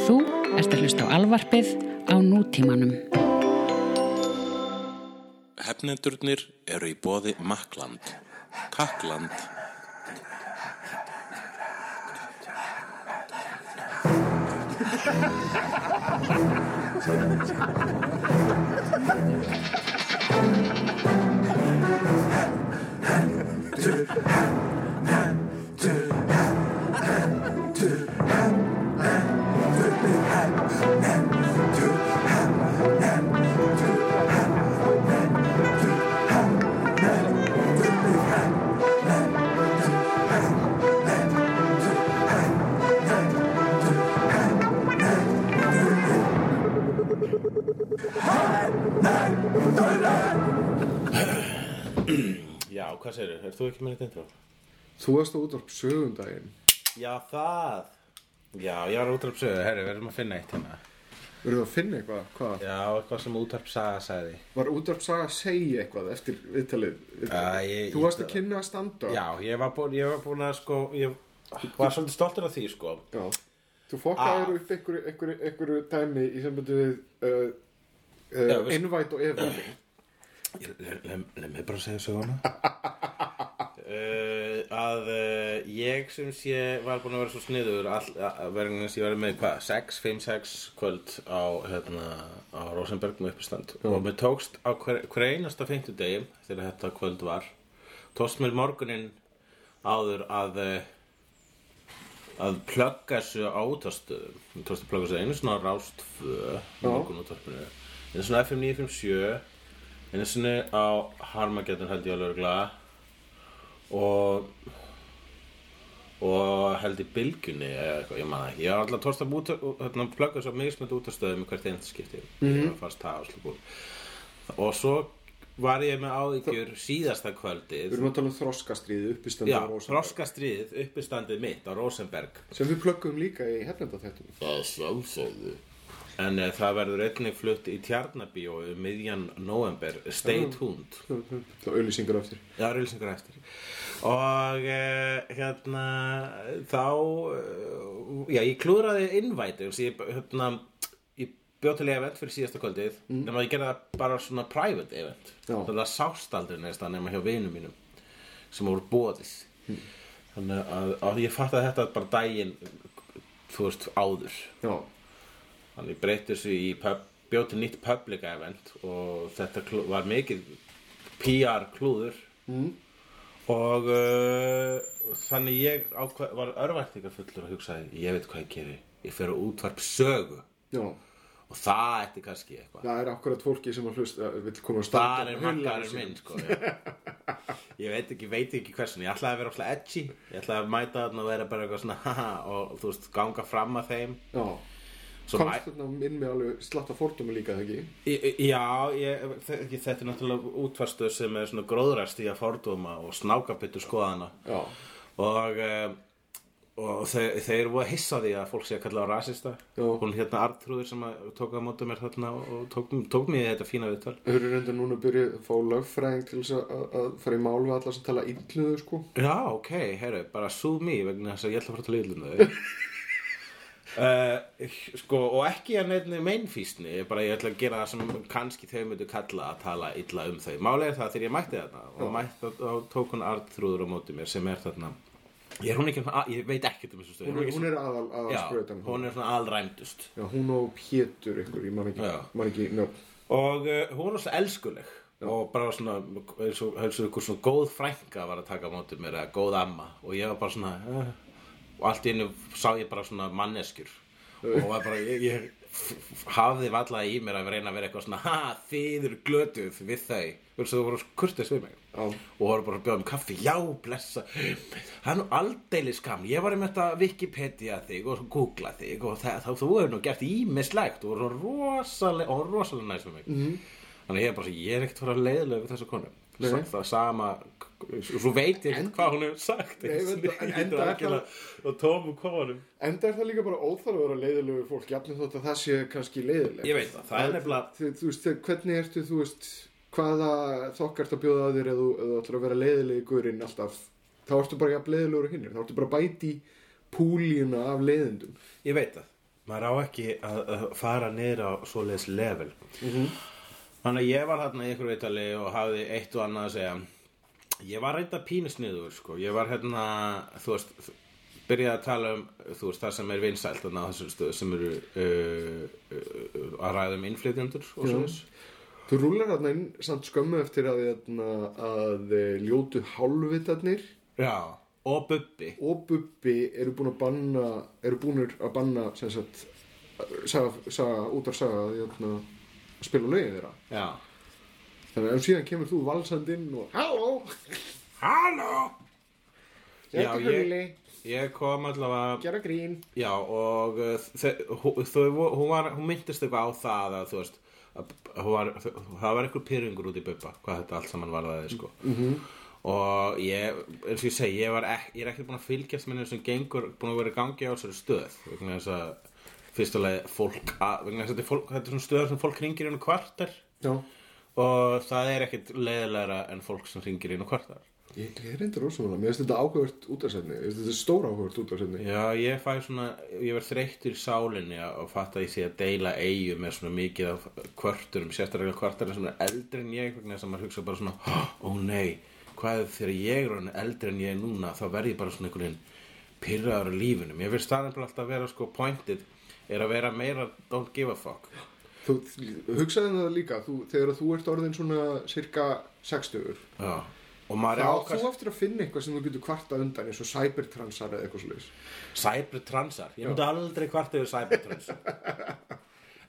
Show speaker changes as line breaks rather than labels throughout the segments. Ertu að hlusta á alvarpið á nútímanum.
Hefnendurnir eru í bóði Makkland, Kakkland Já, hvað segirðu? Er þú ekki með þetta intro?
Þú varst á útvarp sögundaginn
Já, það Já, ég var útarpsöðu, herri, við erum að finna eitt hérna
Verður að finna eitthvað? Hvað?
Já, eitthvað sem útarpsaga sagði
Var útvarp saga að segja eitthvað eftir viðtalið?
Já, ég-
Þú varst
ég-
að kynna að standa
Já, ég var búin, ég var búin að sko Ég var svolítið stoltur af því sko
Já. Þú fokkaður
Ah.
upp einhverju, einhverju, einhverju dæmi í sambandi við uh,
Já,
uh,
við-
Invite og Evil
Leð mig bara að segja söguna uh, Að uh, ég sem sé var búin að vera svo sniður all, að, að vera eins ég var með hvað 6, 5, 6 kvöld á, hérna, á Rosenberg með uppistand og mér tókst á hver, hver einasta fimmtudegi þegar þetta kvöld var tókst mér morguninn áður að uh, að plugga þessu á útastöðum Mér tókst að plugga þessu einu svona rástfö morgun útastöðinu einu svona FM 957 einu svona á Harmageddon held ég alveg örgla og og held í bylgjunni eða eitthvað, ég man það ekki. ég var alltaf tókst að út, hérna, plugga þessu á mismönd útastöðum í hvert einnig skipti
Mhm.
ég fannst það áslugum og svo var ég með áðingjur síðasta kvöldið
Við erum að tala um þroskastríði uppistandi
Já,
á Rósenberg.
þroskastríðið, uppistandið mitt á Rosenberg
Sem við plöggum líka í hefnenda þettum
Það sjálfsögðu En e, það verður einnig flutt í Tjarnabíó um miðjan november Stay tuned
Þá auðlýsingar á eftir
Já, reylisingur eftir Og e, hérna þá e, Já, ég klúðraði invite eins og ég, hérna, ég bjóð til event fyrir síðasta kvöldið mm. nema ég gerði það bara svona private event
Já.
þannig að það sást aldrei neðst að nema hjá vinum mínum sem voru bóðið þannig að, að ég fatt að þetta bara daginn þú veist áður
Já,
Þannig ég breyti þessu í pub, bjóti nýtt public event og þetta klú, var mikið PR klúður mm. og uh, þannig ég ákveð, var örvæntingar fullur og hugsaði ég veit hvað ég geri, ég fer á útvarp sögu
já
og það ætti kannski eitthvað.
Það er akkurat fólki sem að hlusta eh, Vill koma að standa
Það er
og hula
makkarinn
sig.
minn sko, já. ég veit ekki, veit ekki hversun, ég ætlaði að vera alltaf edgy, ég ætlaði að mæta þarna og vera bara eitthvað svona haha og þú veist ganga fram að þeim.
Já
Svo mæ-
Komst þarna inn með alveg slatta fórtum líka þegar ekki
Í- í- Já, ég, þe- ekki, þetta er náttúrulega útvarstuð sem er svona gróðrast í að fordóma og snákapittu skoðana
Já,
og, eh, og þeir, þeir voru að hissa á því að fólk sé að kalla á rasista
Já.
hún hérna Artrúður sem að tók að móta mér þarna og tók, tók mér í þetta fína viðtal
Þau eru reynda núna að byrja að fá lögfræðing til þess að- að, að fara í mál við alla sem tala illuðu sko.
Já, ok, herru, bara sue me vegna þess að ég ætla að fara til Íslanda Uh, sko, og ekki að nefni meinfísni ég bara ég ætla að gera það sem kannski þau myndu kalla að tala illa um þau málega það þegar ég mætti þarna og mætti og tók hún artrúður á móti mér sem er þarna ég, er hún ekki, að- ég veit ekkert um þessu stöð
Hún, er- hún er aðal, aðal
já,
skröðan.
hún er svona alræmdust
Já, hún og Pétur ykkur, ég man ekki,
Já.
man ekki, njá.
og uh, hún var svona elskuleg og bara svona eins og eins og ykkur svona góð frænka var að taka á móti mér eða góð amma og ég var bara svona uh, og allt í einu sá ég bara svona manneskjur og var bara ég, ég f- f- hafði vallað í mér að reyna að vera eitthvað svona ha þið eru glötuð við þau og þú voru kurtið svið mig
Já.
og voru bara að bjóða um kaffi, já, blessa það er nú aldeilis gaml ég var um þetta Wikipedia þig og googla þig og það, þá, þú hefur nú gert ímislegt og voru svona rosalega og voru rosalega næst með mig mm. þannig að ég er bara, svo, ég er ekkert fara að leiðlega við þessa konu
Nei.
Sa- það sama, svo veit ég ekkert hvað hún hefur sagt
Nei,
einu
veit
sinni.
það, en-
Ég
enda
var
er
algjörlega- og tómum konum
Enda er það líka bara óþarf að vera leiðilegu fólk, jafnir þótt að það sé kannski leiðileg.
ég veit það, það er nefnilega
Þú, þú veist, þegar- hvernig ertu, þú veist, hvaða þokkart að bjóða að þér eða þú, ef þú ætlar að vera leiðilegi gurinn alltaf, þá ertu bara jafn leiðilegur og hinnir, þá ertu bara að bæti púlíuna af leiðindum.
Ég veit það maður á ekki að, að fara niður á svoleiðis level þannig að ég var hérna í ykkur veitali og hafði eitt og annað að segja ég var reynda pínusniður sko. ég var hérna þú veist þ- byrjaði að tala um þú veist það sem er vinsælt þarna á þessum stöðu sem eru uh, uh, að ræða um innflytjendur og svoleiðis
Þú rúlar hérna inn samt skömmu eftir að, hérna, að eh, ljótu hálfvitarnir
já, og Bubbi
og Bubbi eru búin að banna eru búinir að banna sem sagt saga, saga, út af saga að hérna, spila lögin þeirra
já,
þannig að um síðan kemur þú valsandinn og halló,
halló Já,
þetta er
ég-
hulli
ég kom allavega
gera grín
Já, og uh, þe- hú- þau, vo- hún, var, hún myndist eitthvað á það að þú veist að hún var, það var eitthvað pyrringur út í bubba hvað þetta allt saman varðaði sko.
Mhm.
-hmm. og ég, eins og ég segi ég, var ek, ég er ekki búin að fylgjast með sem gengur, búin að vera í gangi á þessari stöð vegna þess að fyrstulega fólk, að, vegna þess að þetta er fólk, þetta er svona stöð sem fólk ringir inn og kvartar
Já,
og það er ekkit leiðilegra en fólk sem ringir inn og kvartar
ég, ég reyndar rosalega mér finnst þetta áhugavert útarsefni þetta er stóra áhugavert útarsefni
Já, ég fæ svona, ég verð þreyttur í sálinni og fatt að ég sé að deila eigu með svona mikið af kvörturum, sérstaklega kvörturum sem er eldri en ég, vegna þess að maður hugsa bara svona, "Hó, ó nei, hvað ef þegar ég er orðinn eldri en ég er núna, þá verð ég bara svona einhvern veginn pyrraður á lífinu. Mér finnst það nefnilega alltaf að vera sko pointið, er að vera meira don't give a fuck.
Þú hugsaði það líka þú, þegar þú ert orðin svona cirka 60
Já, og maður er
Já,
ákast...
þú eftir að finna eitthvað sem þú getur kvarta undan eins og cybertransar eða eitthvað slúðis
Cybertransar, ég myndi aldrei kvart yfir cybertransar.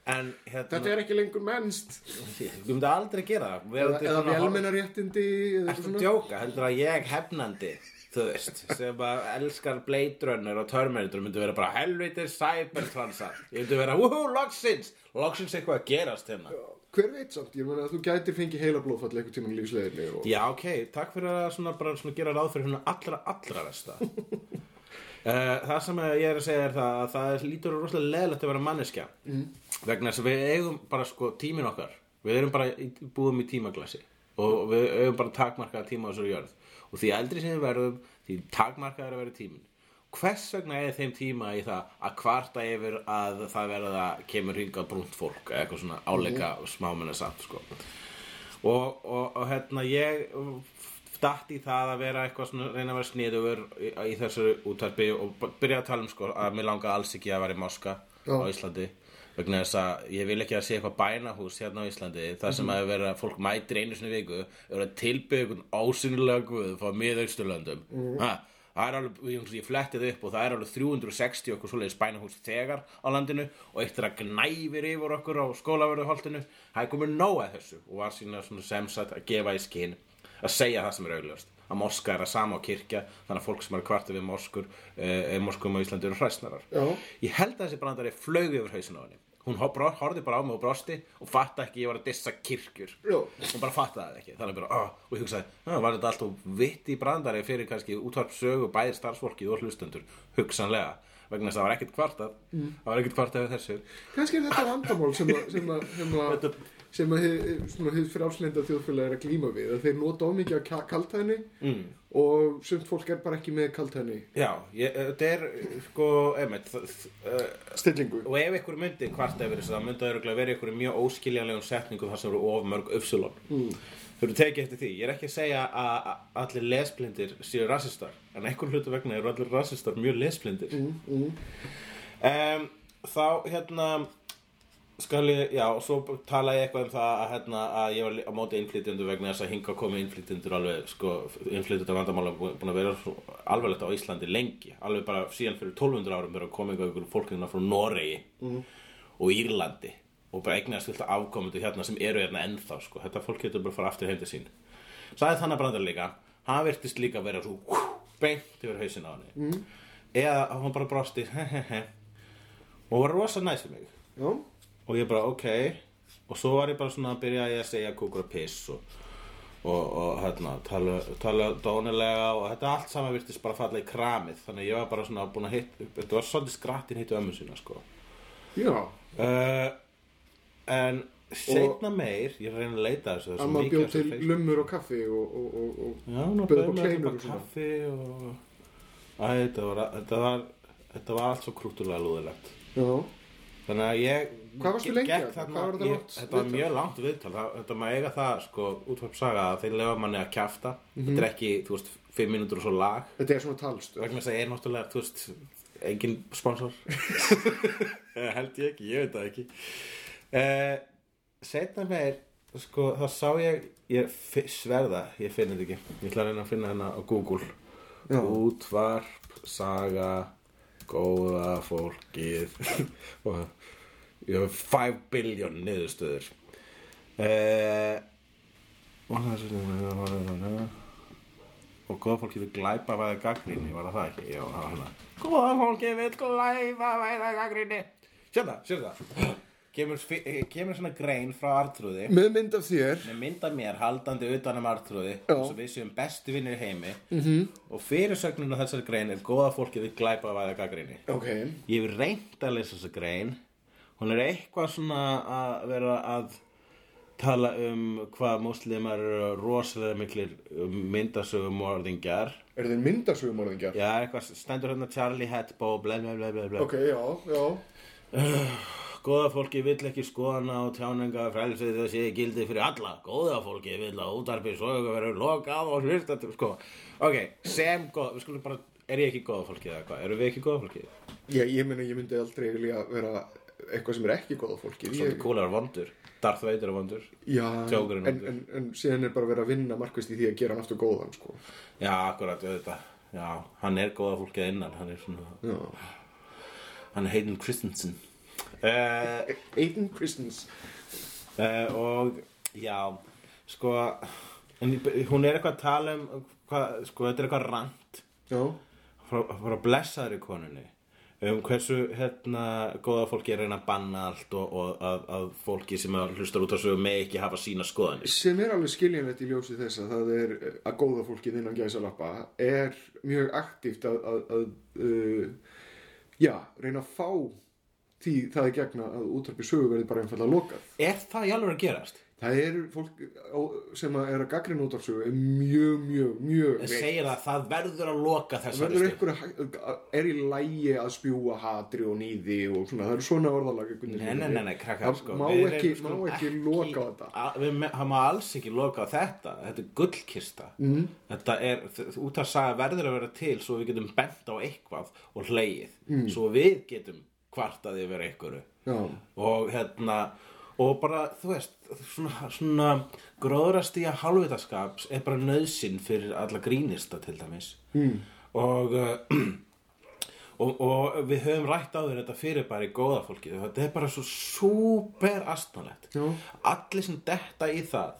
En hérna...
Þetta er ekki lengur mennst
Ég myndi aldrei gera það.
eða,
Verandi
eða
svona hálf-
velmennaréttindi
Ertu
eða eitthvað
að
svona
djóka, heldur að ég hefnandi þú veist, sem að elskar Blade Runner og Terminator myndi vera bara helvitir cybertransar ég myndi vera, úhú, loksins loksins eitthvað að gerast hérna
Hver veit samt, ég meina að þú gætir fengið heila blóðfall eitthvað tíma í lífsleginni og...
já, ok, takk fyrir að svona, bara, svona gera ráð fyrir hérna allra, allra versta uh, það sem að ég er að segja er það að það er- lítur rosalega leðlegt að vera manneskja mm. vegna þess að við eigum bara sko tímin okkar við erum bara í- búum í tímaglasi og við eigum bara takmarkaða tíma á þessari jörð og því eldri sem við verðum því takmarkaðar að vera tímin hvers vegna er þeim tíma í það að kvarta yfir að það verða kemur hingað brúnt fólk eða eitthvað svona áleika mm. smámenna samt sko. og, og, og hérna ég dætt í það að vera eitthvað svona reyna að vera sniðugur í, í þessu útarpi og b- byrja að tala um sko að mér langa alls ekki að vera í Moska
Já.
á Íslandi vegna þess að ég vil ekki að sé eitthvað bænahús hérna á Íslandi þar sem að vera fólk mætir einu sinni í viku er að tilbyggja einhvern ásynlega guð frá miðausturlöndum mm. ha, það er alveg, ég, ég flettið upp og það er alveg 360 okkur svoleiðis bænahús þegar á landinu og eitt er að gnæfir yfir okkur á skólaverðuholtinu það er komið nóg að þessu og var sína svona semsat að gefa í skinn að segja það sem er augljóst að moska er að sama á kirkja þannig að fólk sem er kvartið við moskur eh, moskum á Íslandi eru hræsnarar
Já.
Ég held að þessi brandari flög yfir hausinu á henni. Hún hor- bro- horfði bara á mig og brosti og fatta ekki að ég var að dissa kirkjur.
Já.
Hún bara fattaði það ekki. Þannig bara, ah, og ég hugsaði, ah, var þetta alltaf vitt í brandari fyrir kannski útvarp sögu bæði starfsfólkið og hlustundur, hugsanlega. Vegna þess að það var ekkert kvartað, það var ekkert kvartað við þessu.
Kannski er þetta vandamál sem að sem að, sem að, sem að hið, svona hið frálslinda þjóðfélag er að glíma við að þeir nota ómikið að kaltæðinni mm. og sumt fólk er bara ekki með kaltæðinni
Já, ég, eh, þetta er, sko, einmitt, þ- þ- eh,
stillingu
og ef ykkur myndi kvarta yfir þessu það myndi örugglega vera ykkur í mjög óskiljanlegum setningum þar sem eru of mörg uppsulon mm. þau eru tekið eftir því, ég er ekki að segja að að allir lesblindir séu rasistar en einhver hlutu vegna eru allir rasistar mjög lesblindir mm, mm. þá hérna skal ég, já, og svo tala ég eitthvað um það að, hérna, að ég var á móti innflytjendur vegna þess að hinga komið innflytjendur alveg, sko, innflytjendur vandamála búin að vera svo alvarlegt á Íslandi lengi, alveg bara síðan fyrir 1200 árum verið að koma einhver ykkur fólkina frá Noregi og Írlandi og bara eignast fullt af afkomendu hérna sem eru hérna ennþá, sko, þetta fólk getur bara að fara aftur heimdi sín. Sæði þannig að brandar líka, hann virtist líka að vera svo hú, beint yfir hausinn á henni mm. eða hún bara brosti og var rosa næs við mig
Já,
og ég bara ok og svo var ég bara svona að byrja að segja kúkur og piss og, og, og hérna, tala, tala dónilega og þetta allt saman virtist bara falla í kramið þannig að ég var bara svona búin að hitt þetta var svolítið skrattin hittu ömmu sína sko
já
uh, en setna meir ég er að reyna að leita að þessu þessu
Amma
mikið
bjóð
af
til
þessu Facebook.
lumur og kaffi og, og, og, og
Já, nú bauðum
bauð upp á
við
kleinur
alltaf bara
og svona
kaffi og... Æ, þetta var, þetta var, þetta var allt svo krútulega lúðilegt.
Já,
Þannig að ég
Hvað varstu
ge-
lengi
gekk
þarna?
þarna-
Hvað var þetta
ég-
langt
Þetta var
viðtal?
mjög langt viðtal það, Þetta maður eiga það sko útvarpsaga að þeir lefa manni að kjafta Þetta
Mhm.
er ekki, þú veist, 5 mínútur og svo lag
Þetta er svona talstöð
vegna þess að ég er náttúrulega, þú veist, engin sponsor Eða held ég ekki, ég veit það ekki uh, setna meir sko, þá sá ég ég fi- sverða, ég finn þetta ekki ég ætla að reyna að finna hana á Google
Já.
útvarp, saga góða fólkið og ég hef 5 billion niðurstöður eh og það er svona og góða fólk getur glæpa væða gagnrýni var það það ekki? Já, það var hana góða fólk getur glæpa væða gagnrýni sér það, sér það kemur, sfi- eh, kemur svona grein frá Artrúði
Með mynd af þér
með mynda mér haldandi utan um Artrúði
Já.
og við séum bestu vinnir í heimi -hmm. og fyrirsögnun á þessari grein er góða fólk getur glæpa væða gagnrýni
Ok
ég hef reynt að lesa þessa grein hún er eitthvað svona að vera að tala um hvað múslimar eru rosalega miklir um, myndasögumorðingjar
Er þeir myndasögumorðingjar?
já, eitthvað stendur hérna Charlie Hebdo bla bla bla bla bla
Ok, já, já
góða fólki vill ekki skoðana og tjáninga frelsið þess ég gildi fyrir alla góða fólki vill að útarpi sögu verður lokað og hlusta til- sko ok, sem góða, við skulum bara er ég ekki góða fólkið eða hvað, erum við ekki góða fólkið
Ég, ég meina, ég myndi aldrei vilja vera eitthvað sem er ekki góða fólki
svolítið kúlar vondur, Darth Vader er vondur
Já,
Tjókurinn
en,
undir.
en, en síðan er bara verið að vinna markvist í því að gera hann aftur góðan, sko
Já, akkurat, auðvitað Já, hann er góða fólkið innan Hann er svona,
Já
hann er Hayden Christensen uh,
Aiden Christens
uh, Og, já Sko en, ég- Hún er eitthvað að tala um hvað, Sko, þetta er eitthvað rant
Já,
Frá, frá blessaðri konunni Um hversu, hérna, góða fólki er að reyna að banna allt og, og að, að fólki sem að hlustar út af svo með ekki hafa sína skoðanir
sem er alveg skiljanlegt í ljósi þess að það er eh, að góða fólkið innan gæsalappa er mjög aktíft að, að, að uh, já, reyna að fá því það er gegna að útarpi sögu verði bara einfalda lokað.
Er það í alveg að gerast?
Það er fólk á- sem að er að gaggrinn útarpsögu er mjög, mjög, mjög
Það
veikt.
segir að það verður að loka þessari
verður
stund.
einhver að hæ- er í lægi að spjúa hatri og nýði og svona, það eru svona orðalag einhvern
Nei,
veginn.
nei, nei, nei, krakkar,
Það
sko
má
við
ekki,
erum,
má
skulum
ekki loka á þetta
a- Við me- það má alls ekki loka á þetta Þetta er gullkista mm.
Mhm.
Þetta er, þ- út að saga verður að vera til Svo við getum bent á eitthvað og hlegið
Mhm.
Svo við getum kvartað yfir einhverju
já,
Og hérna Og bara, þú veist, svona, svona gróðrastíja hálfvitaskaps er bara nöðsinn fyrir alla grínista til dæmis. Mm. Og uh, og, og við höfum rætt á þér þetta fyrirbæri góða fólki þetta er bara svo súper astanlegt
Já.
allir sem detta í það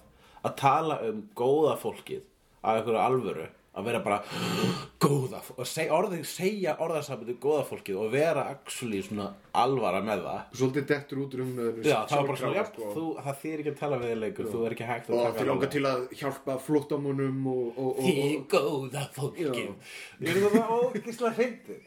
að tala um góða fólkið af einhverju alvöru að vera bara góða fólkið og seg, orðið, segja orðasambandi góða fólkið og vera actually svona alvara með það
svolítið dettur út úr umræðinu
Já, það var bara svona,
sjálfkrafa, sko.
já, þú, það þýr ekki að tala við þig leikur, þú er ekki hægt að
og
taka
þið langar til að hjálpa flóttamunum og, og, og,
Þið
og
góða fólkið Ég finnst þetta ógislega hreindi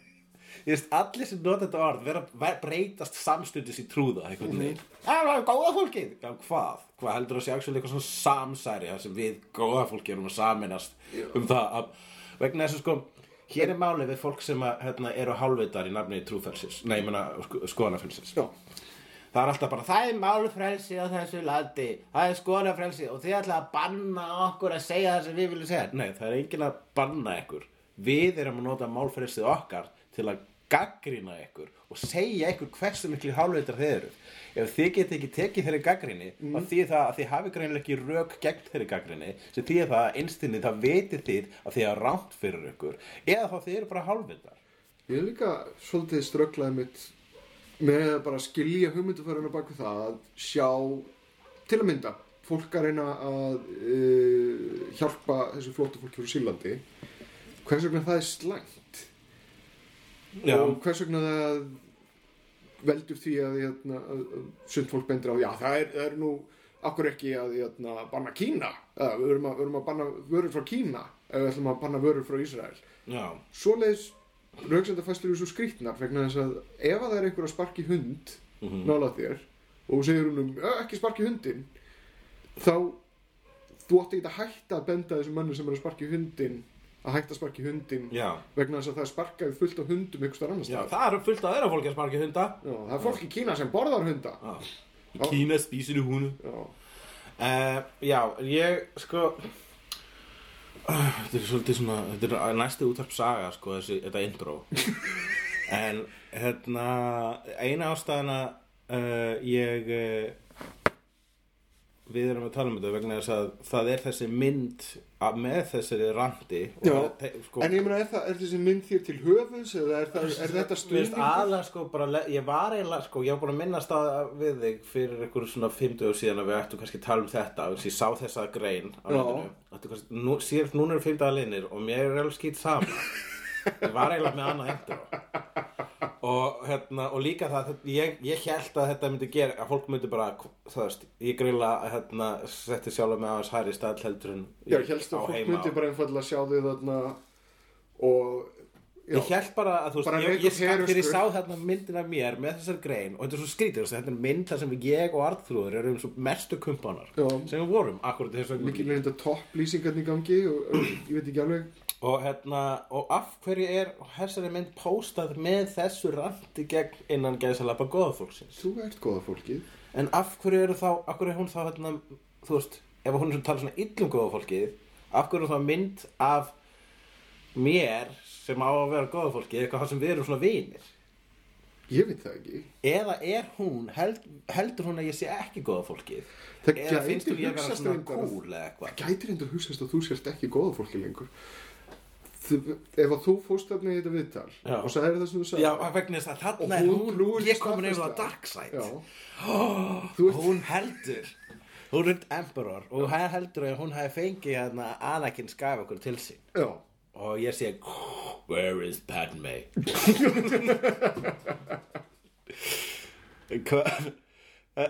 Ég veist, allir sem nota þetta orð vera, ver, breytast samstundis í trúða einhvern veginn. Mhm. Það var góða fólkið Já, hvað? Hvað heldur að sé actually eitthvað svona samsæri þar sem við góða fólkið erum að saminast um það að, vegna þessu sko Hér er málið við fólk sem að, hérna, eru hálfvitar í nafni trúfelsis Nei, ég meina sko, skoðanafelsins
já,
Það er alltaf bara, það er málfrelsi á þessu landi, það er skonafrelsi og þið ætla að banna okkur að segja það sem við viljum segja. Nei, það er enginn að banna ykkur. Við erum að nota málfrelsið okkar til að gaggrina ykkur og segja ykkur hversu miklu hálfveitar þið eru. Ef þið geti ekki tekið þeirri gaggrinni, mm. þá þýðir það að þið hafi greinilega ekki rök gegn þeirri gaggrinni, sem þýðir það að einstinni það viti þið að þið hafa rámt fyrir ykkur, eða þá þið eru bara hálfveitar.
ég er líka svolítið strögglaði mitt með að bara skilja hugmyndufærinu bak við það að sjá til að mynda fólk að reyna að uh, hjálpa þessu flóttafólki frá Sýrlandi hvers vegna það er slæmt og hvers vegna það veldur því að, hérna, að, að sund fólk bendur á já það er, það er nú akkur ekki að hérna, banna Kína eða, við erum að, við erum að banna vörur frá Kína eða við ætlum að banna vörur frá Ísrael
Já.
svoleiðis rauksendafæstur eru svo skrýtnar vegna þess að ef að það er einhver að sparki hund mm -hmm. nála þér og þú segir húnum "Ö, ekki sparki hundin þá þú átti ekki að hætta að benda þessum mönnum sem er að sparki hundin að hægt að sparki hundin
Já.
vegna þess að það er sparkaði fullt af hundum ykkur starf annars
Já,
staðar.
það eru fullt að öðra fólki að sparka í hunda
Já, það er fólk í Kína sem borðar hunda
Já. Ah. Í
Já.
Kína spísir í húnu
Já,
uh, Já, ég sko Ah, Þetta er svolítið svona Þetta er næsti útvarp saga sko, þessi, Þetta intro En hérna Eina ástæðana uh, Ég uh, Við erum að tala um þetta vegna þess að það er þessi mynd að með þessari randi og
Já.
það er te- sko,
en ég meina, er, það, er þessi mynd þér til höfus eða er, það, er þetta
Mér finnst
stuðningur?
aðlega sko bara, le- ég var eiginlega sko, ég var búin að minnast að við þig fyrir einhverjum svona 50 síðan að við ættum kannski að tala um þetta, þess að ég sá þessa grein á
Já.
netinu, ættu kannski, nú, síðan núna eru 50 aðleinir og mér er alveg skýt saman, ég var eiginlega með annað endur og hérna, og líka það, þetta- ég, ég held að þetta myndi gera, að fólk myndi bara, það veist, ég greinlega, hérna, setti sjálf með aðeins hæri stæll heldur en
Já, ég helst að
á
fólk
heima
myndi
á.
bara einfallega sjá þau þarna og já,
Ég held bara að þú veist,
Bara
ég,
veikur
ég skatt þegar ég
herustur.
sá þarna myndin af mér með þessar grein og þetta er svo skrítið, þú veist, þetta er mynd þar sem ég og Arnþrúður erum svo mestu kumpanar
Já.
sem við vorum, akkurat þess vegna
mikið leynda topplýsingarn í gangi og, og ég veit ekki alveg
og, hérna, og af hverju er þessari mynd póstað með þessu randi gegn innan gæðsalapa góðafólksins
þú ert góða fólkið
en af hverju eru þá, af hverju er hún þá hérna, þú veist, ef hún er svona tala svona illum góðafólkið, af hverju er þá mynd af mér sem á að vera góðafólkið, eitthvað þar sem við erum svona vinir
ég veit það ekki
eða er hún, held, heldur hún að ég sé ekki góða fólkið
Það
eða
gæti
finnst hún ég vera
hugsast
svona
reyndar að-
cool eða eitthvað
gætir endur hugsaðist að þú sért ekki góða fólki lengur Þú- ef að þú fórst þarna í þetta viðtal
Já.
og sagðir það sem þú sagði
já, vegna þess að þarna er hún,
trúir
ég komin yfir á
staðfesta.
dark side
já. þú ert
hún heldur hún er emperor og hún heldur að hún hafi fengið hérna Anakin Skywalker til sín
já.
og ég sé where is Padme hvað
Já.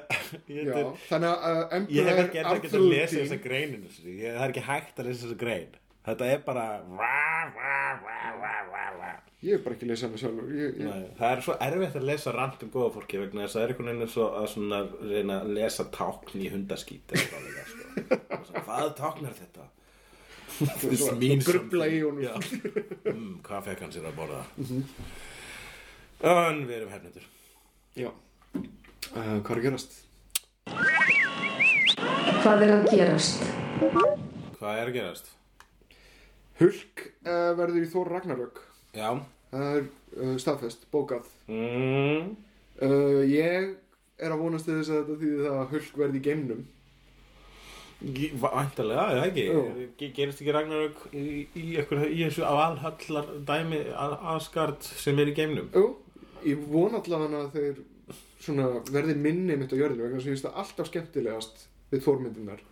ég er
þannig að uh,
Ég hef
Emperor
ekki enda getað að
Arthur
lesa þessa
Dean-
greinin ég, Það er ekki hægt að lesa þessa grein Þetta er bara vá, vá, vá, vá, vá, vá.
ég er bara ekki að lesa hana sjálfur ég, ég,
Nei, Það er svo erfitt að lesa rand um góða fólki vegna þess að það er einhvern veginn eins og að svona, reyna að lesa tákn í hundaskít eða eitthvað líka, sko. Og svona, Hvað táknar þetta? This
Svo-
means
svo grufla í
something.
honum.
Já. mm, Hvað fekk hann sér að borða? En við erum hefnendur
já uh, hvað er að gerast?
Hvað er að gerast?
Hvað er að gerast?
Hulk uh, verður í Þór Ragnarök
Já
það er uh, staðfest, bókað
mm.
uh, ég er að vonast til þess að þetta þýði það að Hulk verði í geimnum
Væntalega, eða ekki
Jú.
Ge- Gerist ekki Ragnarök í, í, ykkur, í þessu aðhallar dæmi aðskart sem er í geimnum
Jú, ég von allavega að þeir svona verði minni mitt á jörðinu vegna sem ég finnst það alltaf skemmtilegast við þórmyndunar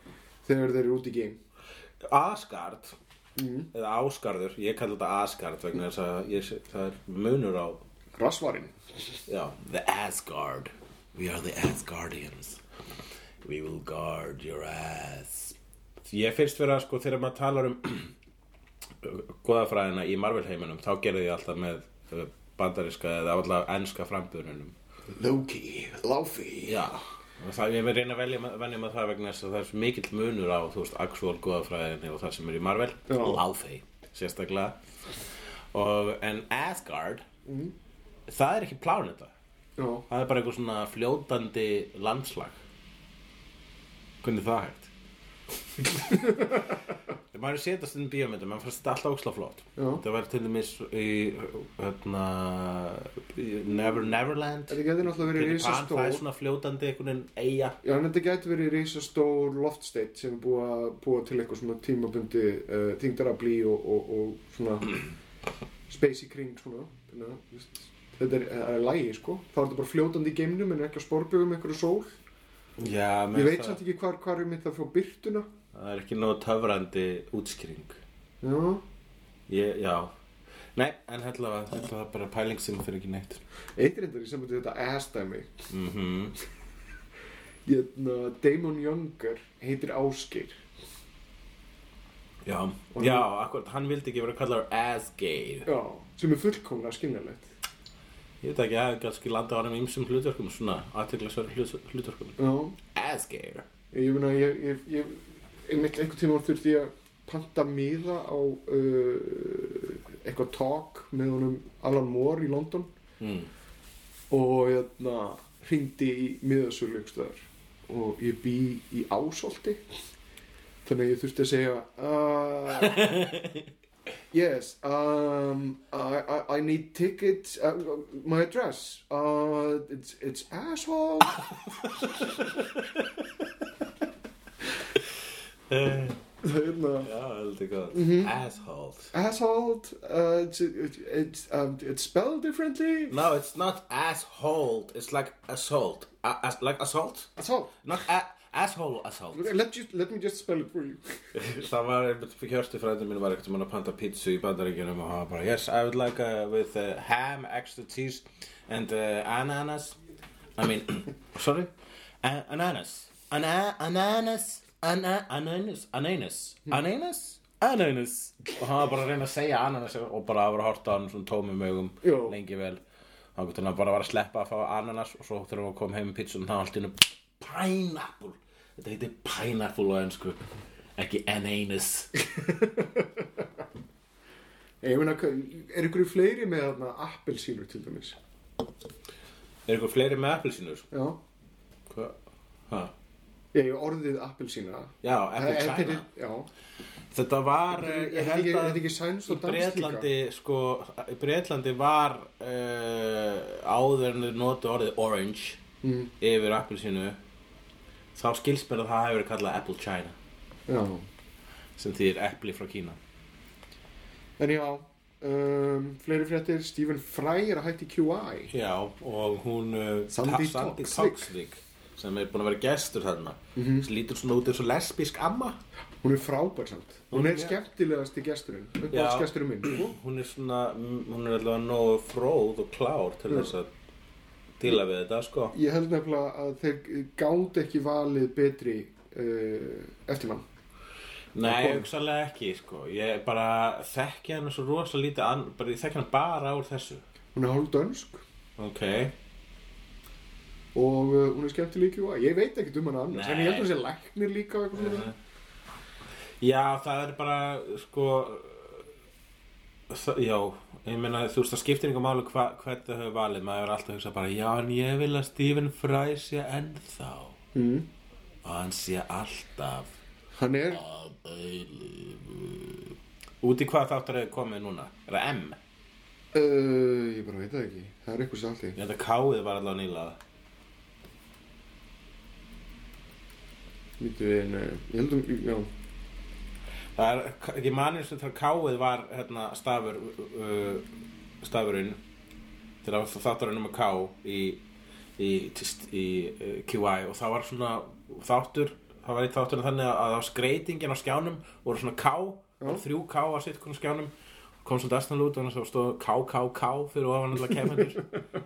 þegar þeir eru út í geim
Aðskart eða áskarður, ég kalla þetta aðskart vegna þess að ég, sé- það er munur á
Rasvarinn
já, The Asgard We are the Asgardians We will guard your ass Ég finnst vera sko þegar maður talar um goðafræðina í Marvel heiminum þá gerði ég alltaf með uh, bandaríska eða allavega enska frambununum
Loki, Láfi
Já, og það, ég verð reyna að velja venja með það vegna þess að það er svo mikill munur á, þú veist, actual góðafræðinni og það sem er í Marvel
Já.
Láfey, sérstaklega og, En Asgard
Mhm.
það er ekki pláneta
Já,
það er bara eitthvað svona fljótandi landslag Hvernig er það hægt? Þegar maður setast inn í bíómyndum, maður fannst þetta alltaf óksla flott
Já.
Það var til dæmis í, hérna, í Never Neverland
þetta gæti náttúrulega verið
Peter Pan, það
risastór
er svona fljótandi einhvern veginn eiga
Já, en þetta gæti verið risastór loftsteitt sem er búið að búa til eitthvað svona tímabundi uh, þingdaraflí og, og, og svona space í kring svona Þannig að, þú veist, Þetta er, það er lægi sko Þá er þetta bara fljótandi í geimnum en ekki að sporbjögum einhverju sól
Já,
Ég veit samt ekki hvar, hvar er mitt að frá byrtuna
Það er ekki nóg töfrandi útskýring
Já,
ég, Já Nei, en hella var þetta var bara pæling sem fyrir ekki neitt
eitt reyndar í sambandi við þetta ass-dæmi
mm
Jötna, Hérna, Damon Younger heitir Ásgeir
Já, já, akkurat, hann vildi ekki vera kallar ass-gay
Já, sem er fullkomlega skiljanlegt
Ég veit ekki, það er kannski landa á hann um ýmsum hlutverkum svona, aðteglisverð hlutverkum
Já,
Ass-gay
ég meina, ég, ég, ég einmitt einhvern tíma þurfti ég að panta miða á uh, eitthvað talk með honum Alan Moore í London
mm.
og hérna hringdi í miðasölu einhverstaðar og ég bý í ásolti þannig að ég þurfti að segja uh, yes um, I, I, I need tickets uh, my address uh, it's, it's asshole það er hérna
Já, heldur gott
Mhm.
Asshole
asshole uh, it's, it's, it's, um, it's spelled differently
No, it's not asshole It's like assault a as Like assault
asshole
Not a asshole assault
let, you, let me just spell it for you
Það var einmitt Hjörstu frændi mín var ekkert mann að panta pítsu í bandaríkjunum og hann var bara Yes, I would like uh, with uh, ham, extra cheese and uh, ananas I mean, sorry An Ananas Ana Ananas Ana Ananas Ananas Ananas Ananas Og hann var bara að reyna að segja ananas og bara að vera að horta á hann svona tómum augum
Jú.
lengi vel Þá getur hann bara að vera að sleppa að fá ananas og svo þegar hann kom heim með pítsun þá allt innu Pineapple Þetta heitir pineapple á ennsku ekki ananas
Ég meina, hva- er ykkur fleiri með þarna appelsínur til dæmis?
Er eitthvað fleiri með appelsínur?
Já.
Hvað? Ha?
Ég hef orðið appelsína.
Já,
Það
apple
er-
china
Eh, þetta er- Já.
Þetta var, eh,
Er
ég
þetta
held
ekki- er
að
þetta ekki sænskt
í
og danskt líka?
Bretlandi, sko, í Bretlandi var uh, áður en þau notu orðið orange
Mm.
yfir appelsínu þá skilst mér að það hefur verið kallað apple china
Já.
sem þýðir epli frá Kína
En já, um, fleiri fréttir, Stephen Fry er að hætti QI.
Já, og hún eh,
Sandy
Ta- Sandy
Toksvik.
Toksvik sem er búin að vera gestur þarna sem lítur svona út eins og lesbísk amma
Hún er frábær samt. Hún er
Já.
skemmtilegasti gesturinn.
Já.
Uppáhaldsgesturinn minn. sko.
hún er svona hún er allavega nógu fróð og klár til þess að díla við þetta sko
Ég held nefnilega að þeir gáði ekki valið betri uh, eftirmann.
nei, hugsalega ekki sko ég bara þekki hann svo rosa lítið an... bara, ég þekki hann bara úr þessu
Hún er hálfdönsk
ok,
og uh, hún er skemmtileg í QI. Ég veit ekkert um hana annars, en ég held að hún
Nei.
sé læknir líka og eitthvað svona.
já það er bara sko það, já, ég meina þú veist það skiptir einhver máli hva, hvernig þau hefur valið maður er alltaf að hugsa bara, já en ég vil að Stephen Fry sé ennþá mm. og hann sé alltaf
Hann er
að eilífu Út í hvað þáttur er komið núna? Er það M?
Uh, ég bara veit það ekki. Það er eitthvað salti.
Ég held að K-ið var allavega nýlega
Lítið við en, uh, ég held um, já.
Það er, ég manir sem þegar K-ið var hérna stafur uh, stafurinn þegar það var þátturinn um að K í, í, í, í uh, QI og það var svona þáttur það var eitt þátturinn þannig að það var skreitingin á skjánum voru svona K, voru þrjú K á sitt konum skjánum kom svona destan lút og það stóð KKK fyrir ofan alltaf kemur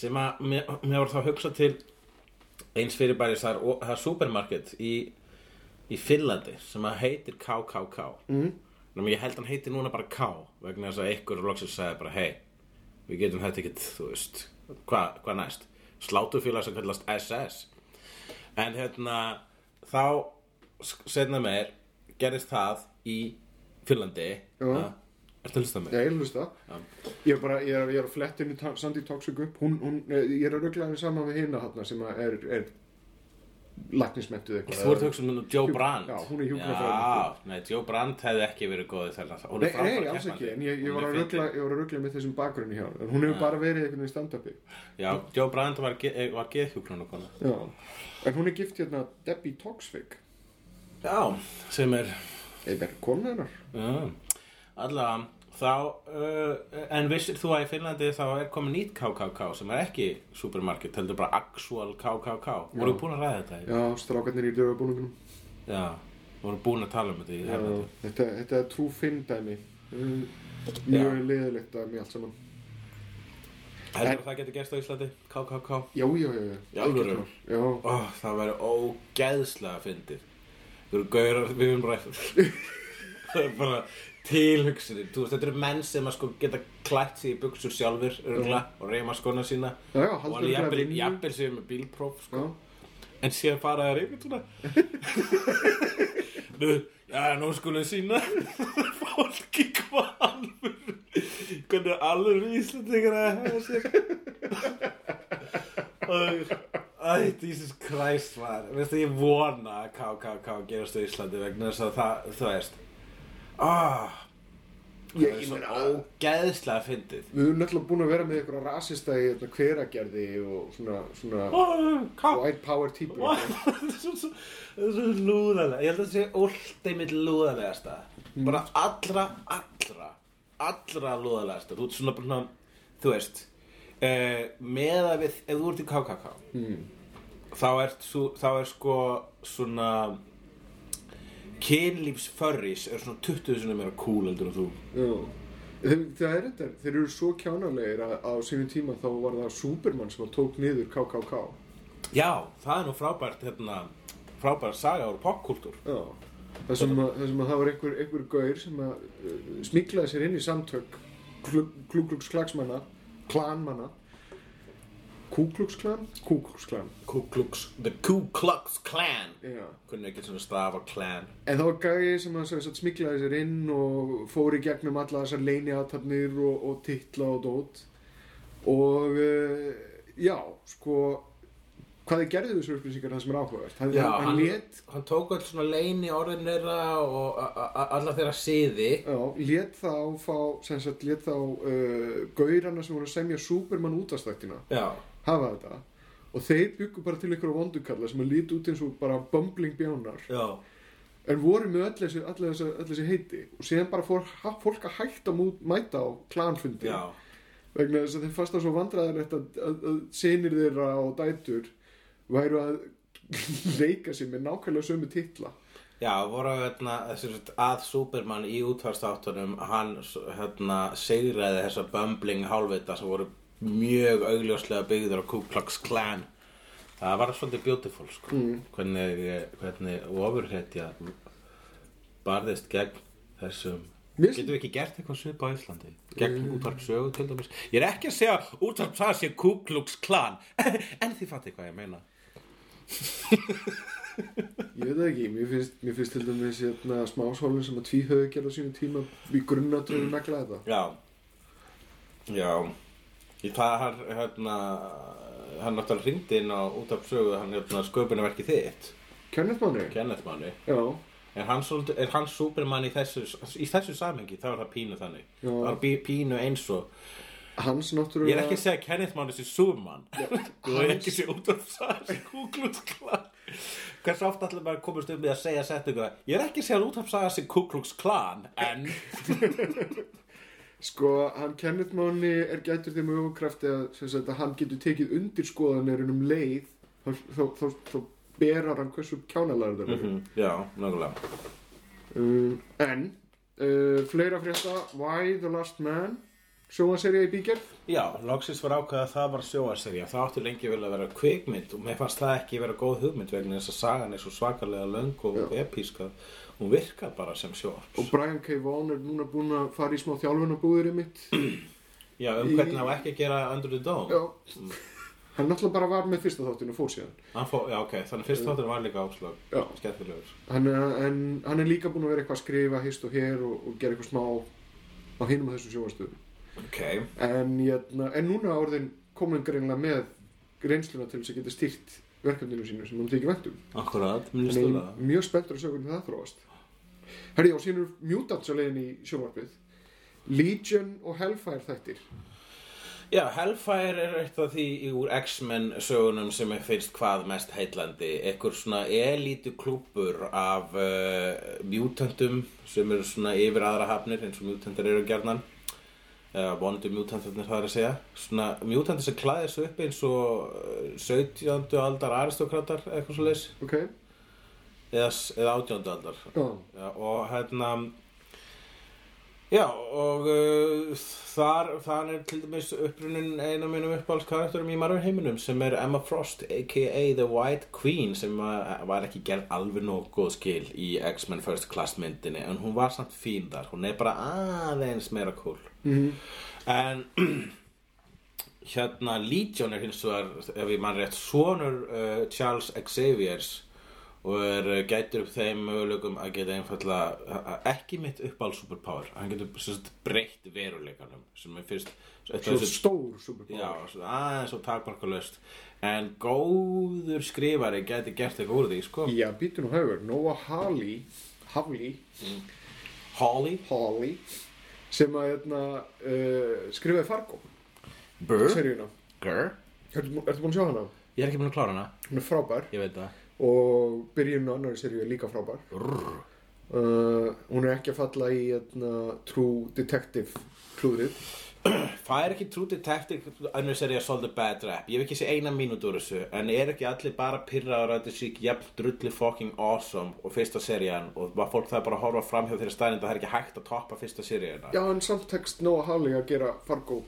sem að mér, mér voru þá að hugsa til eins fyrir bæri það er, það er supermarket í í Finnlandi sem að heitir KKK mm. Nefnum ég held hann heitir núna bara K vegna þess að einhver loksins sagði bara hei, við getum þetta ekkert þú veist, hvað hva næst slátufélag sem kallast SS en hérna þá setna meir gerist það í Finnlandi
Jú.
Ha? Ertu að hlusta á mig?
Já, ég hlust það. Ég er bara, ég er, ég er að fletta henni Sandy Toxic upp. Hún, hún, eh, ég er að ruggla henni saman við hina hérna sem að er, er læknismentuð eitthvað.
Þú ert að hugsa um hennar Joe Brandt
Já, hún er hjúkrunarfræðingur.
Já, nei, Joe Brandt hefði ekki verið góðið þarna Hún
Nei,
er frábær
nei, alls
keppandi.
ekki, en ég, ég
Hún
var
er
að
fyndin.
ruggla, ég var að ruggla með þessum bakgrunni hjá henni. En Hún hefur bara verið einhvern veginn stand-upi.
Já, Joe Brandt var, ge- eh, var geðhjúkrunarkona
Já. En hún er gift hérna Debbie Toxic.
Já, sem er
Eða er konu hennar?
uh, allavega þá, uh, en vissir þú að í Finnlandi þá er komið nýtt KKK sem er ekki supermarket, heldur bara actual KKK, voru búin að ræða þetta
Já, strákarnir í dögabúningunum.
já, voru búin að tala um þetta í
Já,
helviti.
þetta, þetta er trú finn dæmi Um, mjög leiðilegt dæmi allt saman
heldur að það getur gerst á Íslandi, KKK
já, já, já, já,
Í
Algjört
alvöru?
mál. já.
Ó, það væri ógeðslega fyndið. Þú eru gaurar, við erum ræður. það er bara tilhugsunir. Þú veist, þetta eru menn sem að sko geta klætt sig í buksur sjálfur örgulega, og reyma skona sína.
Já, já, halda
og hann
örugglega
jafnvel,
vinnu.
jafnvel sér með bílpróf, sko.
Já.
en síðan fara þær yfir svona Nú, já, nú skulum við sína fólki hvað alvöru hvernig alvöru íslendingar að hafa sér og Æ, Jesus Christ var Veistu, ég vona að KKK gerast á Íslandi vegna þess að það, þú veist ah, Það
Ég,
er
ég
svo
meina,
ógeðslega fyndið
við erum náttúrulega búin að vera með ykkur rasista í hérna, hveragerði og svona, svona
Ó, Hvað
white power típur
Vá, það er svo, svo, það er svo lúðalega ég held að það sé óldæmið lúðalegasta bara allra, allra allra lúðalegasta þú ert svona bara svona, þú veist uh, með að við, ef þú ert í KKK þá ert svo, þá er sko svona kynlífsförris er svona 20 sinni meira cool heldur en þú
Já. Þeim, það er þetta, þeir eru svo kjánalegir að á sínum tíma þá var það Superman sem tók niður KKK.
já, það er nú frábært hérna, frábært saga úr popkultúr
Já. Það sem að, það, sem að það var einhver, einhver gaur sem að uh, smiklaði sér inn í samtök klúkluksklagsmanna, klanmanna, kúkluksklan, kúkluksklan.
Ku Klux, the Ku Klux Klan
Já.
hvernig ekki svona stafa clan
En það var gæði sem að, sem sagt smiklaði sér inn og fór í gegnum alla þessar leini aðtapnir og, og titla og dót og uh, já, sko hvað þið gerðu þessu upplýsingar það sem er áhugavert hann,
Já,
hann,
hann-
hann lét,
hann tók alls svona leini orðin þeirra og a- a- a- alla þeirra siði
já, lét þá fá, sem sagt, lét þá uh, gaurana sem voru að semja Superman útastættina
já,
hafa þetta og þeir byggu bara til ykkur vondukalla sem að líti út eins og bara bumbling bjánar
já,
en voru með öll þessi, öll þessi, öll þessi heiti og síðan bara fór ha- fólk að hætta mú, mæta á klanfundi
já
vegna þess að þeir fasta svo vandræðarlegt að, að, að sinir þeirra og dætur væru að leika sér með nákvæmlega sömu titla
já, voru hérna, þessir að Superman í útvarstáttunum hann s- hérna sigraði þessa bumbling hálfvita sem voru mjög augljóslega byggður á Ku Klux Klan það var svolítið beautiful sko. mm. hvernig, hvernig ofurhetja barðist gegn þessum
Mér finnst- Mm.
Getum við ekki gert eitthvað svipa á Íslandi? Gegn útvarp sögu til dæmis? Ég er ekki að segja útvarp það sé Ku Klux Klan En þið fattir hvað ég meina
ég veit það ekki, mér finnst, mér finnst til dæmis hérna, smásólin sem að tvíhauðu gerða sínum tíma í grunnatröðu
Mm.
negla þetta
Já Já Í það hann, hérna Hann náttúrulega hringdi inn á útvarp sögu Hann hérna sköpunarverki þitt
Kenneth Manning,
Kenneth manni
já,
Er hann, svolítið, er hann Superman í þessu, í þessu samhengi, þá er það pínu þannig.
Já.
Það er bí- pínu eins og
hans náttúrulega
Ég er ekki að segja að Kenneth Mann er sér Superman og ég er ekki að segja út af sæðis kúklúksklan Hversu ofta ætlum maður að komast um við að segja setningu það Ég er ekki að segja að út af sæðis kúklúksklan en
Sko, hann Kenneth Máni er gætur þeim öfukrafti að, sem sagt, að hann getur tekið undir skoðanir en um leið þá, þá, þá, þá berar hann hversu kjánalæður þeir eru.
Já, nákvæmlega
Um, en, uh, fleira frétta, Why the Last Man, sjónvaserja í bígerð.
Já, loksins var ákveð að það var sjóaserja Það átti lengi vel að vera kvikmynd og mér fannst það ekki vera góð hugmynd vegna þess að sagan er svo svakalega löng og epíska Hún virkar bara sem sjóar
Og Brian K. Vaughan er núna búinn að fara í smá þjálfunabúðurinn mitt.
Já, um
Í-
hvernig á ekki að gera Under the Dome
Já. Hann náttúrulega bara var með fyrsta þáttinn og fór síðan.
Hann fó, Já, ok, þannig fyrst þáttur var líka áslag
Já.
Skemmtilegur
Hann, er- en hann er líka búinn að vera eitthvað að skrifa hist og hér og, og gera eitthvað smá á hinum af þessum sjónvastöðum.
Ok,
en, jæna, en núna orðin komin greinlega með reynsluna til þess að geta stýrt verkefninu sínu sem hún þykir væntum
Akkurat, mér líst vel
Þannig
að
ég er mjög spenntur að sjá hvernig það þróast Herri, já, sínur Mutants á leiðin í sjónvarpið Legion og Hellfire þættir
Já, Hellfire er eitt af því úr X-Men sögunum sem er finnst hvað mest heitlandi einhver svona elítu klúpur af uh, mjútantum sem eru svona yfir aðra hafnir eins og mjútantar eru gerðnan eða vondu mjútantarnir það er að segja svona mjútantar sem klæðir sig upp eins og eh, 17. aldar aristokratar eitthvað svo leis
Ok,
eða, eða 18. aldar
já,
Já, og hérna Já, og uh, þar, þar er til dæmis upprunin eina mínum uppáhaldskarakterum í margur heiminum sem er Emma Frost, a.k.a. The White Queen sem uh, var ekki gerð alveg nóg góð skil í X-Men First Class myndinni en hún var samt fín þar, hún er bara aðeins meira cool mm -hmm. En hérna Legion er hins vegar ef ég mann rétt sonur uh, Charles Xavier's og er uh, gætur upp þeim möguleikum að geta einfallega a- a- ekki mitt uppáld superpower hann getur sem sagt, breytt veruleikanum sem er fyrst eitt af
Svo
þessu-
stór
Já,
superpower
svona aðeins og takmarkalöst en góður skrifari gæti gert eitthvað úr því, sko
Já, býtu nú hefur, Noah Hawley Hawley,
Holly,
Hawley sem að hérna, uh, skrifaði Fargo
Burr,
seríuna,
Gur
ertu, bú- ertu búin að sjá hana?
Ég er ekki búin að klára hana,
Hún er frábær
ég veit það
og byrjun á annari seríu er líka frábær
Rrr.
uh, Hún er ekki að falla í hérna, True Detective klúðrið
Það er ekki True Detective annars er ég að solda bad rap Ég hef ekki sé eina mínútu úr þessu En er ekki allir bara pyrraður að þetta sé ekki jafn drulli fucking awesome og fyrsta serían og var fólk það bara að horfa framhjá þeirra staðin það er ekki hægt að toppa fyrsta seríana
Já, en samt tekst Noah Hawley að gera Fargo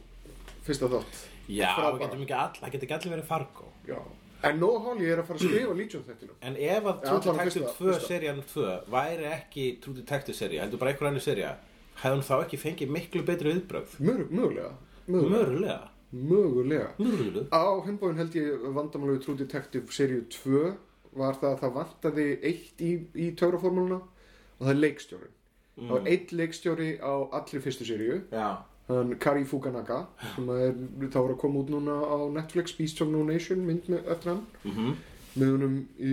fyrsta þátt
Já
Frábæra.
það getur ekki all, það getur ekki allir verið fargo
Já. En Noah Hawley er að fara að skrifa Legion þettina
En ef að
Já,
True
allavega
Detective
fyrsta-
2
fyrsta.
serían 2 væri ekki True Detective sería heldur bara einhver annu sería hefði hún þá ekki fengið miklu betri viðbrögð
Mög, mögulega, mögulega,
Mörulega
mögulega.
Mörulega
Á hinnbóin held ég vandamálu True Detective seríu 2 var það að það vantaði eitt í, í töfraformúluna og það er leikstjórin. Það var eitt leikstjóri á allri fyrstu seríu,
Já
hann Kari Fukunaga, sem að er, þá er að koma út núna á Netflix, Beast of No Nation, mynd með eftir hann,
Mhm.
með honum í,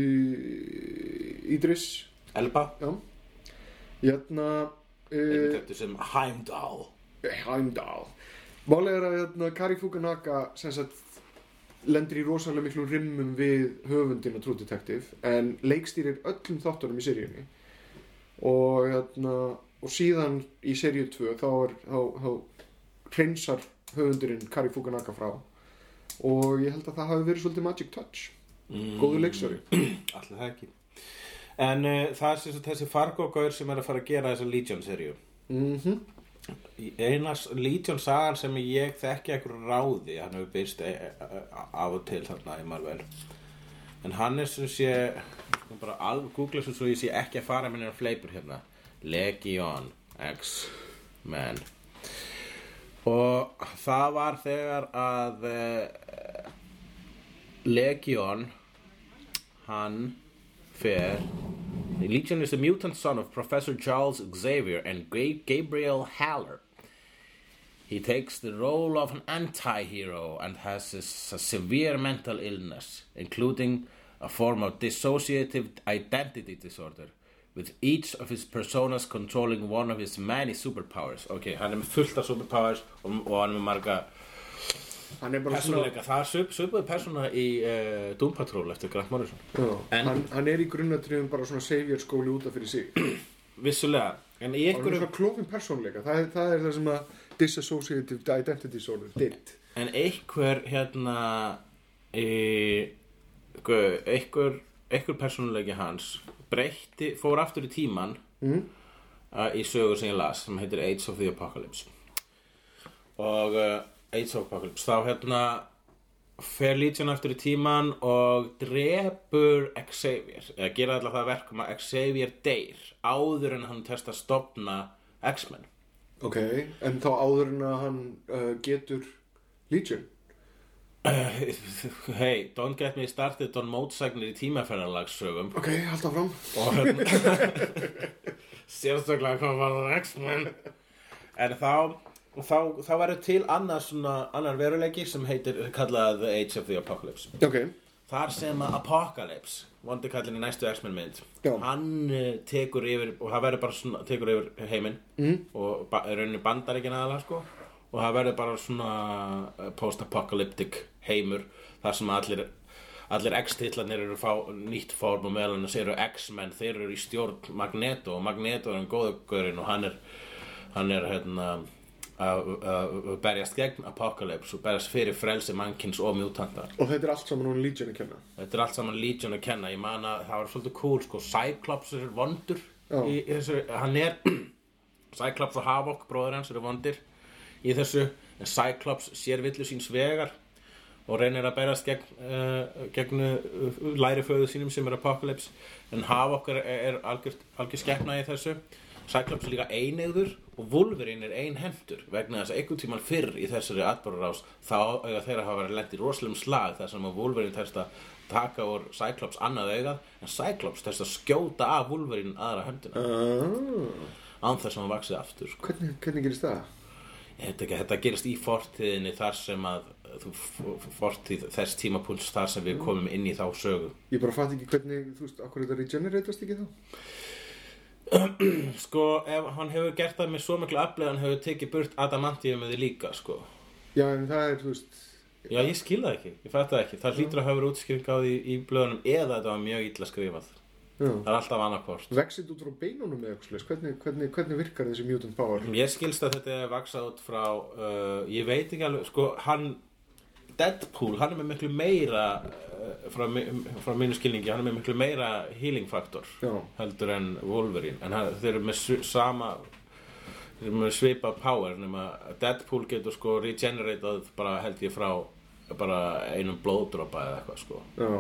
Idris,
Elba
já. Jæna, uh,
Detective sem Heimdall
Heimdall. Málið er að hérna, Kari Fukunaga sem sagt lendir í rosalega miklum rimmum við höfundina True Detective en leikstýrir öllum þáttunum í seríunni og, hérna, og síðan í seríu 2 þá, er, þá, þá hreinsar höfundurinn Kari Fukunaga frá og ég held að það hafi verið svolítið Magic Touch
mm.
góður leikstjóri
Alltaf það ekki En uh, það er sem sagt þessi Fargo-gaur sem er að fara að gera þessa Legion-seríu
mm
Eina s- Legion-sagan sem ég þekki ekkur ráði Hann hefur byrst e e e- af og til þarna í Marvel En hann er sem sé nú bara alveg googla sem svo ég sé ekki að fara minna fleipur hérna Legion X-Men Og það var þegar að uh, Legion hann fer The Legion is the mutant son of Professor Charles Xavier and Ga- Gabriel Haller. He takes the role of an anti-hero and has a, s- a severe mental illness, including a form of dissociative identity disorder, with each of his personas controlling one of his many superpowers. Ok, hann er með fullt af superpowers og, og hann er með marga
hann er bara svona
persónuleika. Það er svip, svipuð persóna í uh, Doom Patrol eftir Grant Morrison.
já,
En-
hann, hann er í grunnatriðum bara svona savior skóli út af fyrir sig
Vissulega, en í
Það er
einhverjum...
svona klófin persónleika, það er það, er það sem að Disassociative Identity Disorder did.
En einhver hérna e, gu- einhver, einhver persónuleiki hans breytti, fór aftur í tíman mm. í sögu sem ég las sem heitir Age of the Apocalypse og uh, Age of Apocalypse þá hérna fer Legion aftur í tíman og drepur Xavier eða gera alltaf það að verkum að Xavier deyr áður en hann testa að stopna X-Men
Ok. En þá áður en að hann uh, getur Legion.
Eh, Hey, don't get me started on mótsagnir í tímaferðalagssögum
Ok, halda fram.
og hérna sérstaklega hvað var það X-Men en þá þá, þá verður til annars svona, annar veruleiki sem heitir kallað The Age of the Apocalypse
Ok.
Þar sem að Apocalypse, vondi kallin í næstu X-Men mynd,
Já.
hann eh, tekur yfir, og það verður bara svona, tekur yfir heiminn mm. og ba- í rauninni bandar ekki aðalega sko og það verður bara svona eh, post-apocalyptic heimur þar sem allir, allir X-titlanir eru fá, nýtt form og meðal annars eru X-Men, þeir eru í stjórn Magneto og Magneto er en góðugurinn og hann er, hann er hérna að að berjast gegn Apocalypse og berjast fyrir frelsi mannkins og mjútanda
Og þetta er allt saman hún Legion að kenna.
Þetta er allt saman Legion að kenna, ég man að það var svolítið cool, sko, Cyclops er vondur
Já.
í, í þessu, hann er, Cyclops og Havok, bróður hans, eru vondir í þessu, en Cyclops sér villu síns vegar og reynir að berast gegn, uh, gegn uh, læriföðu sínum sem er Apocalypse, en Havok er, er algjör, algjör skeppna í þessu, Cyclops er líka einegður og Wolverine er ein hendur vegna þess að einhvern tíman fyrr í þessari atbörurás þá eiga þeirra hafa verið lent í rosalum slag þar sem að Wolverine tæst að taka úr Cyclops annað augað en Cyclops tæst að skjóta af Wolverine aðra höndina
Ah,
án þess að hann vaksið aftur sko.
hvernig, hvernig gerist það?
Þetta, ekki- þetta gerist í fortíðinni þar sem að þú, f- fortíð, þess tímapunkt þar sem við komum inn í þá sögu
Ég bara fatt ekki hvernig, þú veist, okkur þetta regeneratast ekki þá?
Sko, ef hann hefur gert það með svo miklu aflega hann hefur tekið burt adamantíum eða líka, sko
Já, en það er, þú veist,
Já, ég skil það ekki, ég fætti það ekki Það hlýtur að hafa verið útskýring á því í blöðunum eða þetta var mjög illa skrifað
já.
Það er alltaf annarkvort
Vexit út frá beinunum eða eitthvað, hvernig, hvernig, hvernig virkar þessi mutant power?
Ég skilst að þetta er vaksað út frá uh, Ég veit ekki alveg, sko, hann Deadpool, hann er með miklu meira uh, frá, mi- frá mínu skilningi hann er með miklu meira healing faktor
Já.
heldur en Wolverine en hann, þeir eru með sv- sama þeir eru með svipa power nema að Deadpool getur sko regeneratað bara held ég frá bara einum blóðdropa eða eitthvað sko
Já,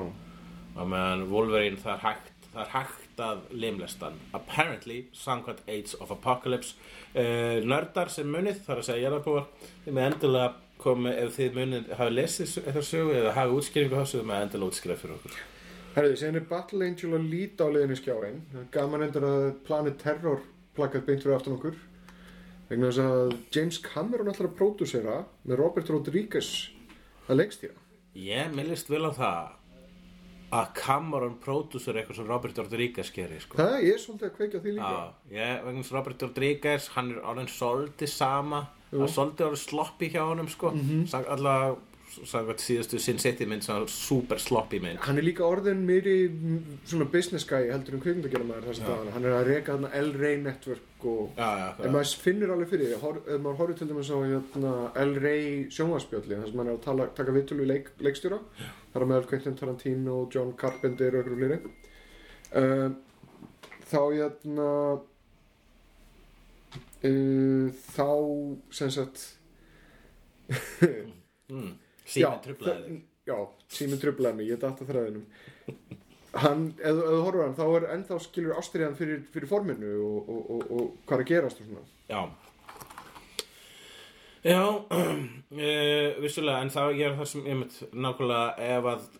og meðan Wolverine það er hægt það er hægt að limlestan apparently, samkvæmt Age of Apocalypse uh, nördar sem munið þar að segja jarðarbúar þið með endilega komi ef þið munið hafi lesið s- þessa sögu eða hafi útskýringu á þessu þið með endilega útskýra fyrir okkur
herriði, síðan er Battle Angel að líta á leiðinu skjáin. Það er gaman endur að Planet Terror plakað beint fyrir aftan okkur. Vegna þess að James Cameron ætlar að pródúsera með Robert Rodriguez að leikstýra.
ég millist vel á það að Cameron pródúsur eitthvað sem Robert Rodriguez gerir sko.
Það er svolítið að kveikja á því líka.
Já, ég, vegna þess Robert Rodriguez, hann er orðin svolítið sama, hann er svolítið orðin sloppy hjá honum, sko, mm -hmm. sag, allavega, sagði síðustu Sin City mynd, sem var super sloppy mynd.
Hann er líka orðin meiri mm, svona business guy heldur en kvikmyndagjörnumæður þess að dagana. Hann er að reka þarna L-Ray network og
Já, já,
En maður finnir alveg fyrir því, hor- ef maður horfir til dæmis á hérna, El Rey sjónvarspjölli, þar sem maður er að tala, taka vittölu í leik, leikstjóra, þar á meðal Quentin Tarantino, John Carpenter og öðru fleiri. Um, þá hérna, uh, þá sem sagt,
Mm. Síðan trublaði þig.
þ- Já, síminn trublaði mig, ég datta þræðinum Hann, ef ef þú horfir á hann, þá er ennþá skilur ástriðan fyrir, fyrir forminu og, og, og, og hvað er að gerast og svona
Já. Já, uh, vissulega, en þá ég er það sem, ég mynd, nákvæmlega ef að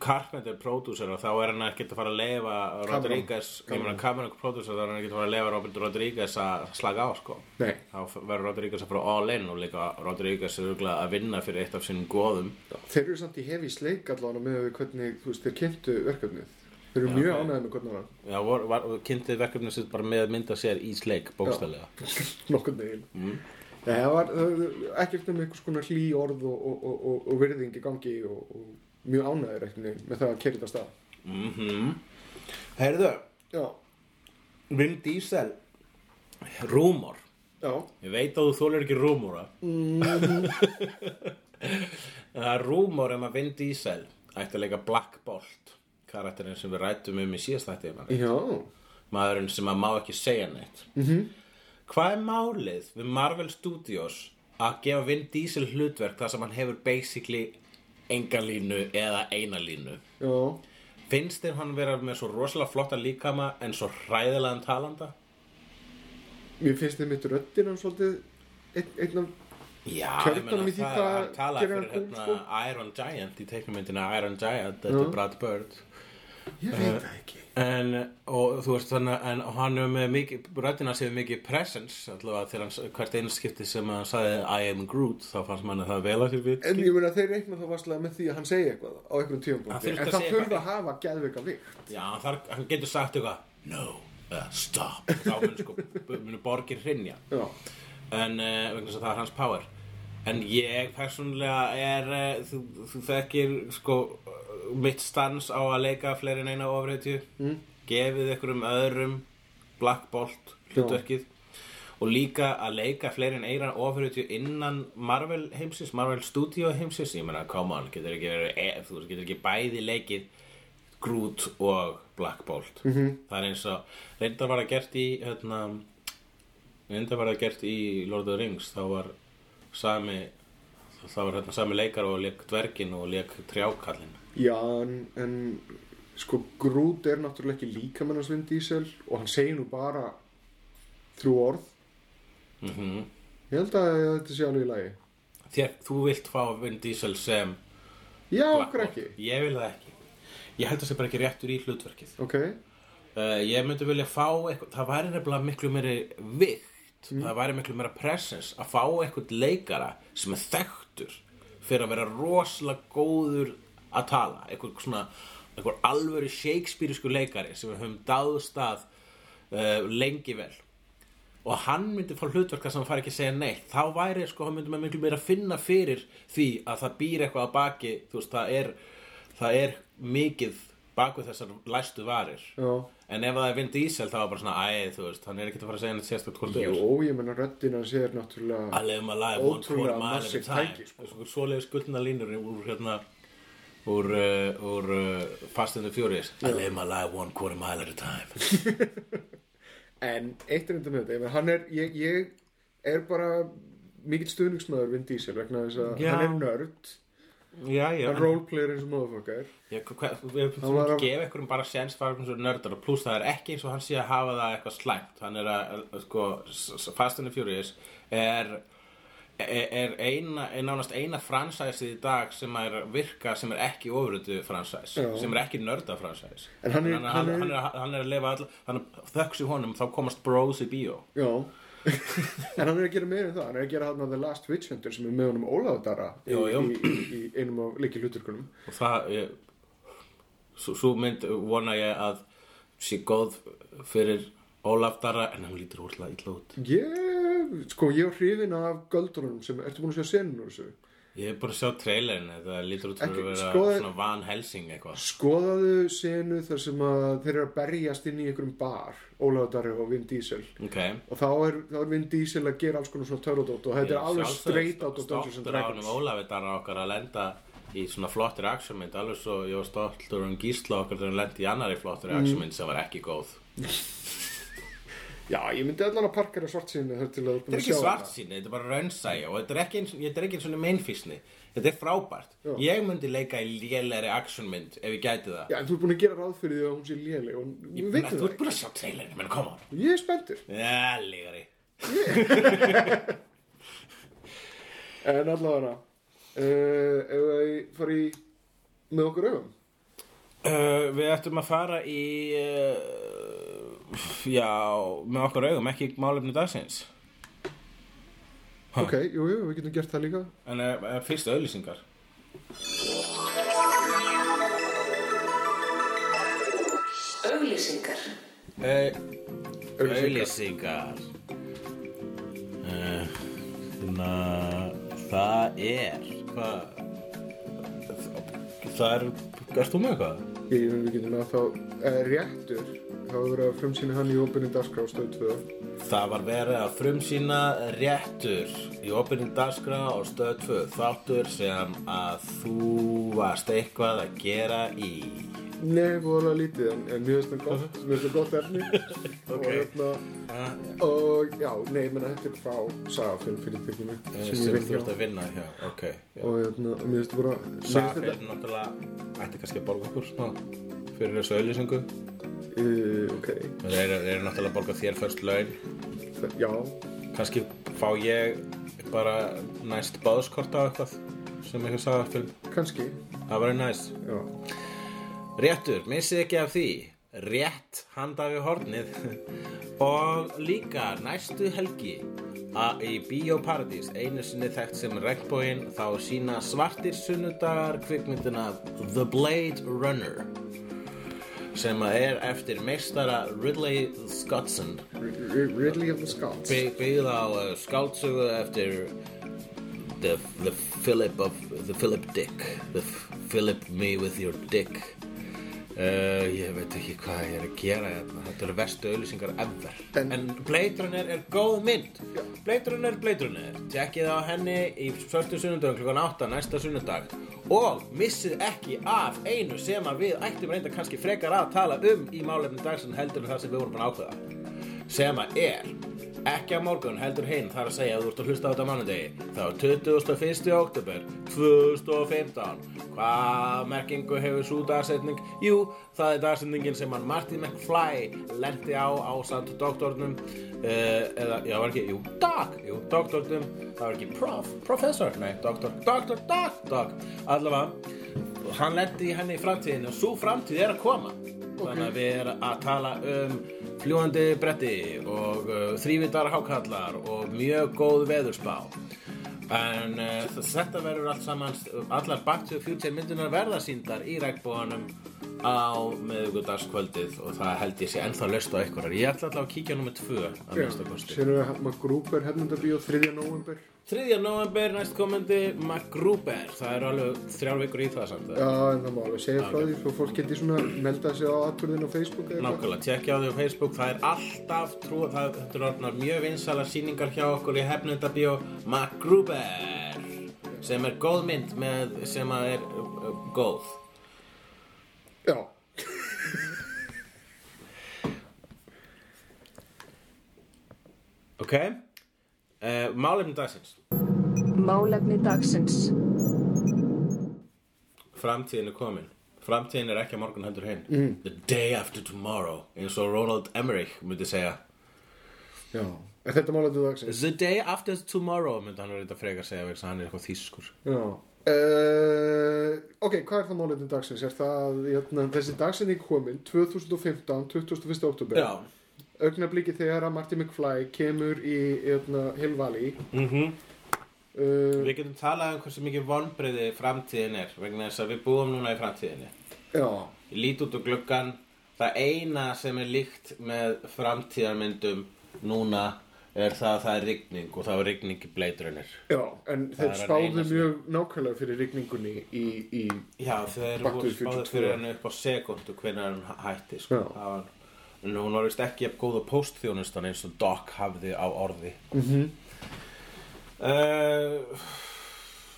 Carpenter pródúsera þá er hann ekkert að fara að leifa Rodríguez, ég meina Cameron pródúsera þá er hann ekkert að fara að leifa Robert Rodríguez að slaga á, sko.
Nei,
þá verður Rodríguez að fara all in og líka Rodríguez er örugglega að vinna fyrir eitt af sínum góðum
Þeir eru samt í hefi sleik allavega með við hvernig þú veist, þeir kynntu verkefnið. Þeir eru mjög
ok.
ánægði með hvernig hann
Já, var, var, kynntið verkefnið sitt bara með að mynda sér í sleik bókstælega
nokkur negin. Mm. Það var það var ekkert um einhvers konar hlý orð og, og, og, og, og virðing í gangi og, og mjög ánægði reikni með það að kerja þetta af stað.
mm Heyrðu,
Já,
Vin Diesel Rúmor
já,
Ég veit að þú þólar ekki rúmora mm. Það er rúmor um að Vin Diesel ætti að leika Black Bolt karakterinn sem við rættum um í síðast þætti ef hann er
já,
maðurinn sem að má ekki segja neitt -hmm.
Mhm.
hvað er málið við Marvel Studios að gefa Vin Diesel hlutverk þar sem hann hefur basically enga línu eða eina línu
já,
finnst þér hann vera með svo rosalega flotta líkama en svo hræðilegan talanda?
mér finnst þið mitt röddinn hann svolítið einn ein af,
Já, ég
Kjördæmi
meina
í því
það
hvað
hann talaði
gerir
fyrir
hann sko?
hérna,
kúl,
Iron Giant í teiknumyndina Iron Giant, þetta er Brad Bird
ég veit það ekki.
En, og þú veist þannig, en hann er með mikið, röddina séu mikið presence, allavega þegar hann, hvert einskipti sem hann sagði I am Groot, þá fannst manni það vel að sér við.
En ég meina þeir reikna þá varslega með því að hann segi eitthvað á einhverjum
Hann
tíumbúti.
þurfti
En
að
það
segja
þurfa
eitthvað.
að hafa geðveika vikt.
Já, hann þar, hann getur sagt eitthvað, no, uh, stop, þá mun sko, munu borgir hrinja.
Já,
En, uh, vegna þess að það er hans power. En ég persónulega er, uh, þú, þú þekkir, sko, eh, mitt stans á að leika fleiri en eina ofreitju. Mm. Gefið einhverjum öðrum Black Bolt hlutverkið. og líka að leika fleiri en eira ofurutju innan Marvel heimsins, Marvel Studio heimsins ég meina, come on, getur ekki, verið, e, þú veist, getur ekki bæði leikið Groot og Black Bolt -hmm. það er eins og, reyndar var það gert í hérna, reyndar var það gert í Lord of the Rings þá var sami þá var hérna sami leikar og leik dvergin og leik trjákallin
Já, en, en sko Groot er náttúrulega ekki líka með hans Vin Diesel og hann segir nú bara þrjú orð
Mhm.
Ég held að þetta sé alveg í lagi
Þér, þú vilt fá Vin Diesel sem
Já,
Black
okkur
Bolt.
ekki
Ég vil það ekki Ég held að það sé bara ekki réttur í hlutverkið
Ok,
Uh, ég myndi vilja fá eitthvað, það væri nefnilega miklu meiri vikt, það væri miklu meira presence að fá eitthvað leikara sem er þekktur fyrir að vera rosalega góður að tala, eitthvað svona, eitthvað alvöru shakespeareisku leikari sem við höfum dáðst að uh, lengi vel og hann myndi fá hlutverk þar sem hann fari ekki að segja neitt þá væri sko, hann myndi maður miklu meira að finna fyrir því að það býr eitthvað að baki þú veist, það er, það er mikið bakvið þessar læstu varir
já
en ef það er Vin Diesel þá er bara svona æð, þú veist, hann er ekkert að fara að segja neitt sérstætt hvort þú er
Jó, ég menna röddina hans er náttúrulega
að leiðum um að læða one
Ótrúlega
quarter mile at a
massive
time
tæki, sko.
sko. svoleiðis gullna línur úr hérna úr, uh, úr uh, Fast and the Furious að leiðum að læða one quarter mile at a time
En eitt er enda með þetta ég, menn, hann er, ég, ég er bara mikill stuðningsmaður Vin Diesel vegna þess að
Já.
hann er nörd
já, já
hann roleplayer eins og motherfucker
Ég, hva, við
Hann
þurfum
var
að
að-
gefa einhverjum bara sens fyrir einhverjum svo nördar og pluss það er ekki eins og hann sé að hafa það eitthvað slæmt hann er að, að- að sko, s- s- Fast and the Furious er er, er eina, er nánast eina fransæsið í dag sem er virka sem er ekki ofrötu fransæs
Já.
sem er ekki nörda fransæs
En hann er-
hann, hann,
hann er-
hann, er, að- hann er að lifa all, hann þöks í honum þá komast bros í bíó
Já En hann er að gera meira en það, hann er að gera hann The Last Witch Hunter sem er með honum Ólafur Dara í,
Jú, jú.
Í, í, í einum af leikil hluturkunum
og það ég, svo, svo mynd vona ég að sé góð fyrir Ólaf Dara en hann lítur úrlega illa út
Ég, sko, ég er hrifin af göldurunum sem, ertu búin að sjá senur úr þessu?
Ég er búin að sjá trailerin, þetta lítur út fyrir
Ekki, sko,
að vera
skoða-
svona van helsing eitthvað.
Skoðaðu senu þar sem að þeir eru að berjast inn í einhverjum bar Ólafur Darri og Vin Diesel
Ok.
og þá er, þá er Vin Diesel að gera alls konar svona törrodótt og þetta er alveg straight out of Dungeons and
Stoltur
Dragons
ánum Ólafi þarna okkar að lenda í svona flottir actionmynd, alveg svo ég var stoltur um gísla okkar þegar hann lendi í annari flottir
Mm.
actionmynd sem var ekki góð.
Já, ég myndi allan að parkera svart sínu þar til
Þetta
að þú ert búin
er
að
ekki
sjá
svart
hana.
síni, þetta er bara raunsæja og þetta er ekki eins, þetta er ekki eins og meinfísni. Þetta er frábært. Ég myndi leika í lélæri actionmynd ef ég gæti það.
Já, en þú ert búin að gera ráð fyrir því að hún sé léleg og við
Menn,
veitum
Þú
það
ert búin að sjá trailerin, menn koma.
ekki. Ég er spenntur
Ja, lígari.
En allavega uh, Ef við farið í með okkur augum
Uh, við ættum að fara í, uh, já, með okkur augum, ekki málefni dagsins.
Ok, jú, jú, við getum gert það líka
En uh, uh, fyrst auðlýsingar.
Auglýsingar.
Uh,
Auglýsingar.
auðlýsingar. Uh, svona, það er, hvað? Það er, erst þú með eitthvað?
Ég við getum að þá uh, réttur þá hefur verið að frumsýna hann í opinni dagskrá á stöð 2
Það var verið að frumsýna réttur í opinni dagskrá á stöð 2 þáttur sem að þú varst eitthvað að gera í.
Nei, voru að lítið en, en mjög stann gott mjög stann gott efni og, hérna, og já, nei, menna þetta er frá sagafilm fyrir tekinu sem ég
Eh, sem þú
veit
ert
hjá
að vinna hjá ok
og hérna, og mér finnst bara mér finnst
Safir
þetta-
náttúrulega ætti kannski að borga okkur smá fyrir þessu auðlýsingu
Uh, ok,
þeir eru þeir eru náttúrulega að borga þér fyrst laun
það- já,
kannski fá ég bara næst báðskort á eitthvað sem ég hef sagði fyrir
kannski
það var næst
já.
Réttur, missið ekki af því Rétt handa við hornið Og líka næstu helgi að í Bíóparadís einu sinni þekkt sem regnbóin þá sína svartir sunnudagar kvikmyndina The Blade Runner sem að er eftir meistara Ridley Scottson
R- R- Ridley of the Scots
by- byggð á uh, skáldsögu eftir the, the Philip of the Philip Dick the Philip me with your dick uh, ég veit ekki hvað ég er að gera hérna þetta eru vestu auðlýsingar ever
En-
en, en Blade Runner er góð mynd Blade Runner, Blade Runner tekkið á henni í svörtu sunnudagum klukkan 8 næsta sunnudag og missið ekki af einu sem að við ættum reynda kannski frekar að tala um í málefni dagsann heldur en það sem við vorum að ákveða sem að er Ekki á morgun, heldur hinn, þar að segja að þú ert að hlusta á þetta á mánudegi. Það var 21. oktober 2015. Hvað merkingu hefur svo dagsetning? Jú, það er dagsetningin sem hann Martin McFly lendi á á samt doktornum. Uh, eða, já, var ekki, jú, doc, jú, doktornum. Það var ekki prof, professor, nei, doktor, doktor, doc, doc. Allavega, hann lendi í henni í framtíðinu og svo framtíð er að koma þannig að við erum að tala um fljúandi bretti og uh, þrývitar hákallar og mjög góð veðurspá en uh, þetta verður allt saman allar Back to the Future myndunar verða síndar í regnbóðanum á meðugudagskvöldið og það held ég sé ennþá löst á einhverjar ég ætla alltaf að kíkja nummer tvö að næsta kosti
Sér er að hérna maður grúper hefnundabíó 3. november
3. november næst komandi MacGruber, það eru alveg þrjár vikur í það samt
Já, en það má alveg segja frá því Svo fólk geti svona melda sig á atbyrðin á Facebook eða eitthvað.
Nákvæmlega, tjekkja á því á Facebook, það er alltaf trú, það er, þetta er orðnar mjög vinsala sýningar hjá okkur í hefnendabíó MacGruber sem er góð mynd með, sem að er uh, uh, góð
Já,
Ok? Uh, Málefni dagsins
Málefni dagsins
Framtíðin er komin Framtíðin er ekki að morgun hendur hinn mm. The day after tomorrow eins og Ronald Emmerich myndi segja
já Er þetta málefnið dagsins?
The day after tomorrow myndi hann reynda frekar segja vegna þess að hann er eitthvað þýskur
Já uh, Ok, hvað er það málefnið dagsins? Er það, jötna, þessi dagsinning komin 2015, 21. oktober
Já,
Augnabliki þegar að Marty McFly kemur í jötna, Hill Valley
mhm
uh,
Við getum talað um hversu mikið vonbreyði framtíðin er vegna þess að við búum núna í framtíðinni.
Já,
Ég lít út úr gluggan, það eina sem er líkt með framtíðarmyndum núna er það að það er rigning og það var rigning í bleitrunir.
já En
Það er
þeir
að
spáðu
reyna sko. sig.
mjög nákvæmlega fyrir rigningunni í, í
Já, þeir
Back to
voru
the Future
spáðið fyrir
2.
henni upp á sekundu hvernig hann hætti, sko.
Já.
Það Var, en hún var vist ekki að góða póstþjónustan eins og Doc hafði á orði. Eh, Mm
Mhm.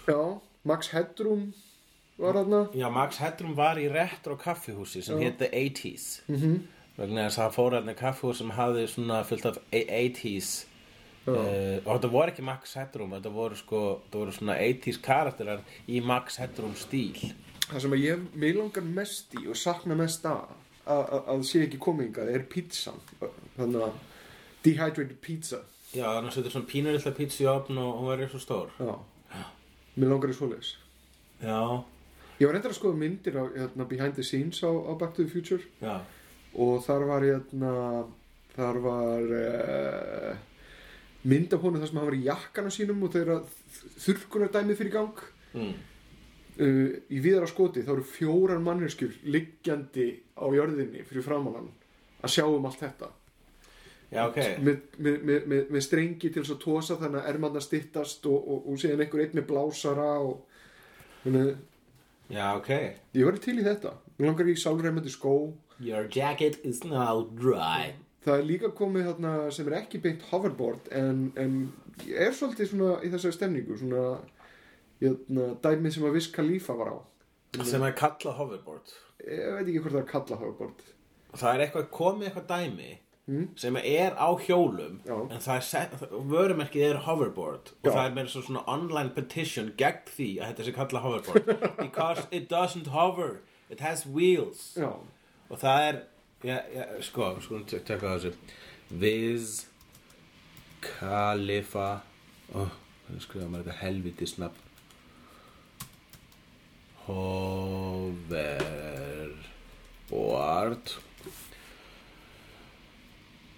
Já, Max Headroom var þarna
Já, Max Headroom var í retro kaffihúsi sem hétt The 80s mm -hmm. vegna þess að það fór hérna í kaffihús sem hafði svona fullt af e- 80s uh, og þetta voru ekki Max Headroom þetta voru sko, þetta voru svona 80s karakterar í Max Headroom stíl
Það sem að ég, mig langar mest í og sakna mest að að að sé ekki kominga, er pizzan þannig að dehydrated pizza
Já, þannig að þetta er svona pínurilla pizza í opn og hún verið svo stór
já, mér langar í svoleiðis
Já,
ég var reyndar að skoða myndir á hérna, behind the scenes á, á Back to the Future
já,
og þar var hérna, þar var uh, mynd af honum þar sem hann var í jakkanum sínum og þeirra þurrkunar dæmi fyrir gang
mm.
uh, í viðara skoti þá eru fjórar manneskjur liggjandi á jörðinni fyrir framannan að sjá um allt þetta
já ok
með, með, með, með, með strengi til þess að tósa þannig að ermanna stittast og, og, og síðan einhver einn með blásara og þannig,
Já, ok
ég verði til í þetta ég langar í sálræmandi skó
Your jacket is now dry
það er líka komið þarna sem er ekki beint hoverboard en, en ég er svolítið svona í þessari stemningu svona jötna, dæmið sem að viss kalífa var á
sem er kallað hoverboard
ég veit ekki hvort það er að kalla hoverboard
það er eitthvað komið eitthvað dæmi sem er á hjólum
Hmm? Já.
en það er sett, vörumerkið er hoverboard og
Já.
það er meira svo svona online petition gegn því að þetta sé kallað hoverboard because it doesn't hover it has wheels
já,
og það er ja, ja, sko, sko, tekka þessu Viz Khalifa ó, hvernig skrifa maður þetta helvitis nafn Hoverboard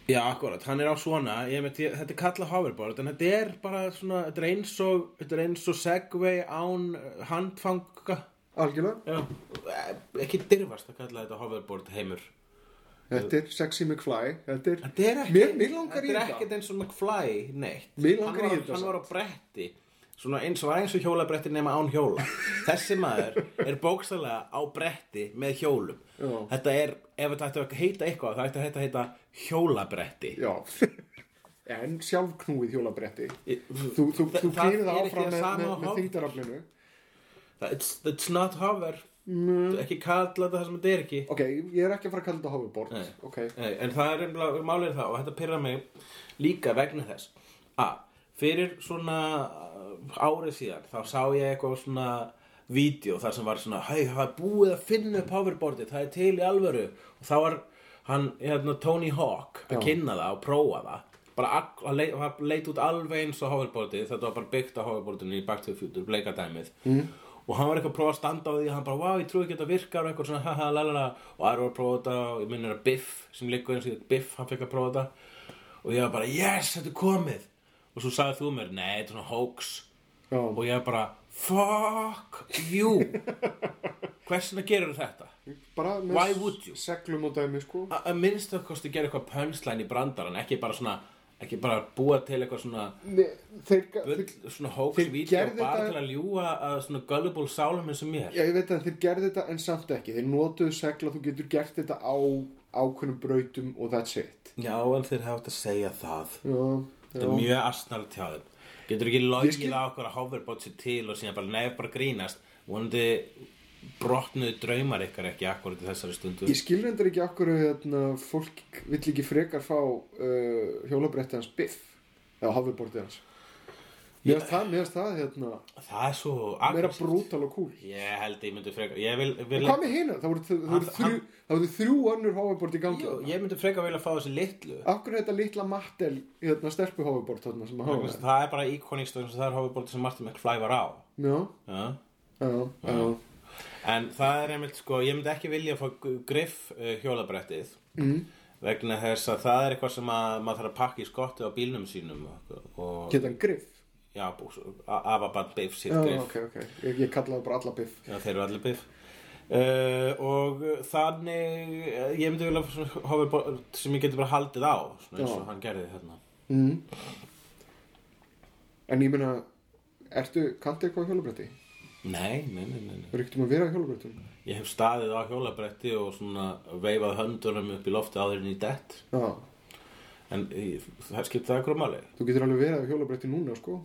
Já, akkurat, hann er á svona ég með, ég, þetta er kallað hoverboard en þetta er bara svona, þetta er eins og þetta er eins og segway án eh, handfanga
algjörlega
Já, ekki dyrfast að kalla þetta hoverboard heimur
Þetta er sexy McFly Þetta er,
Þetta er ekki,
Mér, mér langar í
þetta er
þetta
ekkert eins og McFly, neitt
Mig langar
Hann var-
í þetta
Hann
samt.
var á bretti, svona eins og var eins og hjólabretti nema án hjóla Þessi maður er bókstælega á bretti með hjólum
Já.
Þetta er, ef þetta ætti að heita eitthvað, það ætti að heita, heita hjólabretti
Já En sjálfknúið hjólabretti Þú, þú, þú
Það- það
knýrið
er
það
ekki
áfram
það
með,
sama
með,
hopp.
með þyngdaraflinu
Þa- It's, it's not hover ekki kalla þetta það sem þetta er ekki
ok, ég er ekki að fara að kalla þetta hoverboard
Nei.
ok,
Nei, en það er einhverja málið það og þetta pyrra mig líka vegna þess að fyrir svona uh, árið síðan þá sá ég eitthvað svona vídeo þar sem var svona hei, það er búið að finna upp hoverboardið, það er til í alvöru og þá var hann, hérna, Tony Hawk að kynna það og prófa það bara ak- að leit, að leit út alveg eins og hoverboardið, þetta var bara byggt á hoverboardinu í Back to the Future, bleika dæmið mm. og hann var eitthvað að prófa að standa á því hann bara, wow, ég trúi ekki að þetta virkar og eitthvað svona, haha, lalala og aðra var að prófa þetta og ég minnir að Biff sem liggur eins og ég, Biff, hann fekk að prófa þetta og ég var bara, yes, þetta er komið og svo sagði þú mér, nei, þetta er svona hoax
já,
og ég var bara, fuck you hversna gerur þetta?
bara
Why would you?
seglum og dæmi sko
að að minnsta kosti gera eitthvað pönslæn í brandarann ekki bara svona ekki bara búa til eitthvað svona
Nei, þeir,
bull,
þeir,
svona
þeir
hóksvíti og
gerðu
bara
þetta-
til að ljúga að svona gullible sálum eins og mér
já, ég veit að þeir gerðu þetta en samt ekki þeir notuðu segla, þú getur gert þetta á ákveðnum brautum og that's it
já en þeir hafa þetta að segja það
já,
þetta er mjög astnal til þeim getur ekki logið
skil-
skil... á okkur að hoverbot sér til og síðan bara nefn bara grínast vonandi brotnuðu draumar ykkar ekki akkurat í þessari stundu
ég skilur endur ekki akkur hérna, fólk vill ekki frekar fá uh, hjólabretti hans biff eða hoverboardi hans mér finnst það, mér finnst það hérna,
það er svo
meira
aggressivt.
brútal og cool
ég held ég myndi frekar ég vil, vil
En hvað með hina? Það voru, það voru,
Hann-
þrjú, það voru þrjú önnur hoverboard í gangi
Jú, ég myndi frekar vilja fá þessi litlu
Akkur er þetta litla mattel hérna, stelpu hoverboard þarna sem að
Vegna
hafa
þess að það er bara íkonist og það er hoverboardið sem Martin McFly var á
Já,
ja.
já, já
en það er einmitt sko ég myndi ekki vilja að fá griff uh, hjólabrettið mm. vegna þess að það er eitthvað sem að maður þarf að pakka í skotti á bílnum sínum og, og
Geta hann griff?
já, afaband biff sitt
Já,
griff
ok, ok Ég, ég kallaði bara alla biff
Já, þeir eru allir biff uh, Og þannig eh, Ég myndi vilja svona hoverboard sem ég geti bara haldið á svona eins
Já.
og hann gerði þarna
Mm. En ég meina, ertu, kanntu eitthvað á hjólabretti?
Nei, nei, nei, nei, nei.
Þú ríktum um að vera á hjólabrettum
Ég hef staðið á hjólabretti og svona veifað höndunum upp í lofti áður en í dett
Já,
En eh, það skipt það ykkur máli
þú getur alveg verið á hjólabretti núna, sko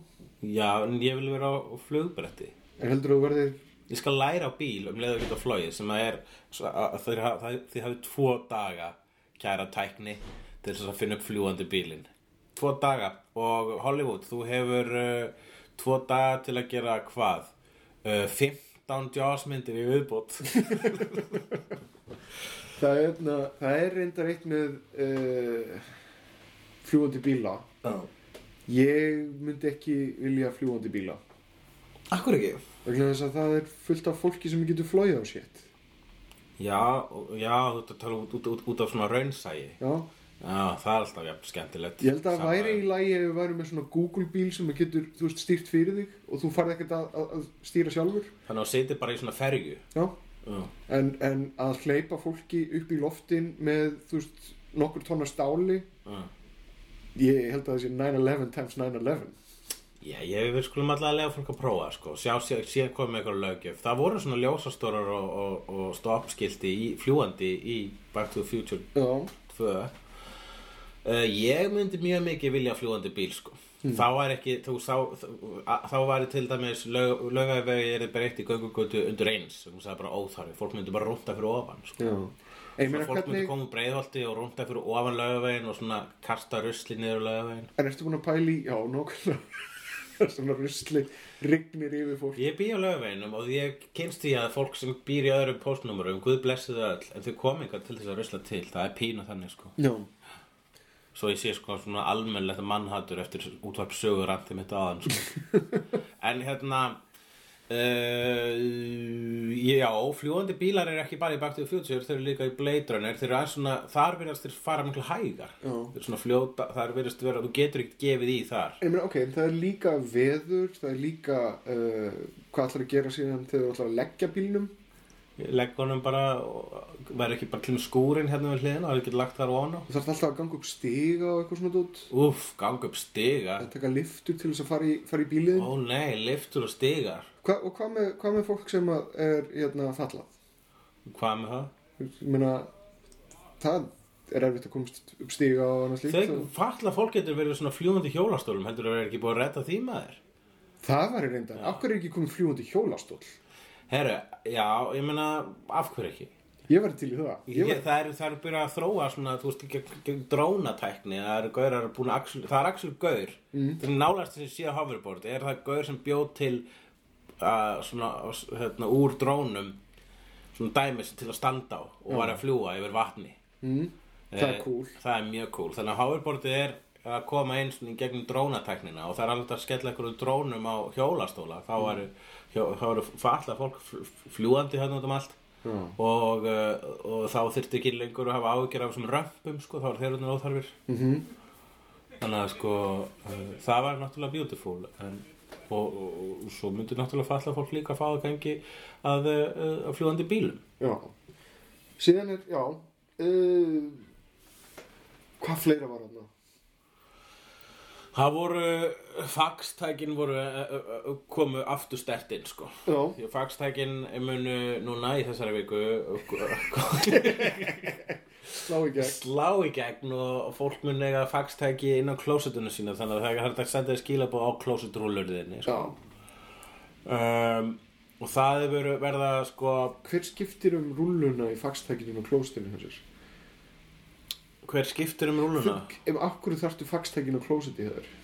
Já, en ég vil vera á flugbretti
En heldur þú verðir
Ég skal læra á bíl um leið og geta flogið sem að er svo að að þeir hafa- það- þið hafið tvo daga kæra tækni til þess að finna upp fljúandi bílinn Tvo daga og Hollywood, þú hefur uh, tvo daga til að gera hvað? Uh, 15 jásmyndir í viðbót
Það er, na, það er reyndar eitt með uh, fljúandi bíla
Já
Ég myndi ekki vilja fljúandi bíla
Akkur ekki?
vegna þess að það er fullt af fólki sem getur flóið á sétt
Já, og- já, þú ert að tala út, út, út, út af svona raunsæi
já,
Já, það er alltaf jafn skemmtilegt
ég held að það
Sama-
væri í lagi ef við værum með svona Google bíl sem að getur, þú veist, stýrt fyrir þig og þú farið ekkert að, að, að stýra sjálfur
Þannig að setja bara í svona ferju
já,
Já,
en, en að hleypa fólki upp í loftin með, þú veist, nokkur tonna stáli
já.
ég held að það sé 9-11 times 9-11
Já, ég við skulum alltaf að lega fólk að prófa sko. Sjá síðan sé komið með eitthvað löggjöf Það voru svona ljósastórar og, og, og stoppskilti í, fljúandi í Back to the Future
já,
2 uh, Ég myndi mjög mikið vilja fljúandi bíl sko.
Hmm.
Þá var ekki, þú, sá, þá- þá var til dæmis lög, lögavegi er breytt í göngugötu undir eins sem það er bara óþarfi, fólk myndi bara rúnta fyrir ofan sko.
já En ég
Svona
meina
fólk myndi
hvernig,
koma úr breiðvalti og rúnda fyrir ofan laugavegin og svona kasta rusli niður laugavegin.
en ertu búin að pæli já, nokkulega svona rusli rignir yfir fólk
Ég bý á laugaveginum og ég kynst því að fólk sem býr í öðrum postnúmerum, guð blessi þau öll, en þau kom eitthvað til þess að rusla til, það er pína þannig sko.
já,
Svo ég sé sko svona almennlegt mannhatur eftir útvarp sögur randi mitt aðan sko. en hérna, uh, já, fljúandi bílar eru ekki bara í baktið future, þeir eru líka í Blade Runner, þeir eru aðeins svona, þar verðast þeir fara miklu hægar.
Já.
Þeir eru svona fljóta, þar verðast vera, þú getur ekkert gefið í þar.
Ég meina, ok, en það er líka veður, það er líka uh, hvað ætlar að gera síðan þegar þú ætlar að leggja bílnum.
legg honum bara væri ekki bara til með skúrin hérna við hliðina og hefði ekki lagt þar ofan á
Þú þarf alltaf að ganga upp stiga og eitthvað svona dót.
Úff, ganga upp stiga
Að taka liftur til þess að fara í, fara í bílinn.
Ó nei, liftur og stigar
Hva, og hvað með, hvað með fólk sem að er hérna, fallað?
Hvað með það?
Ég meina, það er erfitt að komast upp stiga og annars líkt.
Þegar
Þeim...
falla fólk getur verið svona fljúandi hjólastólum heldur að vera ekki búið að redda því maður
Það var í reyndan. Af hverju er ekki komið fljúandi hjólastól?
Herru, já, ég meina, af hverju ekki?
Ég verði til í það
Ég,
Ég verði
það eru, það eru byrjað að þróa svona, þú veist, gegn, gegn drónatækni, það eru gaurar að búin að axl, það er axl gaur, mm. það er nálast sem sé hoverboard, er það gaur sem bjóð til að svona, hérna, úr drónum, svona dæmi sem til að standa á og var að fljúa yfir vatni.
mm, Það er
Eh,
cool
Það er mjög cool, þannig að hoverboardið er að koma eins í gegnum drónatæknina og það er alveg að skella einhverju drónum á hjólastóla, þá
Mm.
eru, hjó, þá eru falla fólk fl- fl- fljúandi hérna út um allt
Já.
og, uh, og þá þyrfti ekki lengur að hafa áhyggjur af þessum römpum sko, þá eru þeir unnir óþarfir -hmm.
Mhm.
þannig að sko uh, það var náttúrulega beautiful en, og, og, og svo myndi náttúrulega falla fólk líka að fá að gangi að, uh, að fljúandi bílum
Já Síðan er, já uh, Hvað fleira var þarna?
það voru, fagstækin voru uh, uh, uh, komu aftur stert inn sko
Já,
fagstækin munu núna í þessari viku eh,
slá í gegn
slá í gegn og fólk mun eiga fagstæki inn á klósetunum sína þannig að það er hægt að senda þér skilabóð á klósetrúlurðinni
Já,
sko. um, og það er verið verða sko,
hver skiptir um rúlluna í fagstækinu og klóstinu þessir?
hver skiptir um rúluna
Ef akkur þarftu fagstækinu og klóstinu þessir?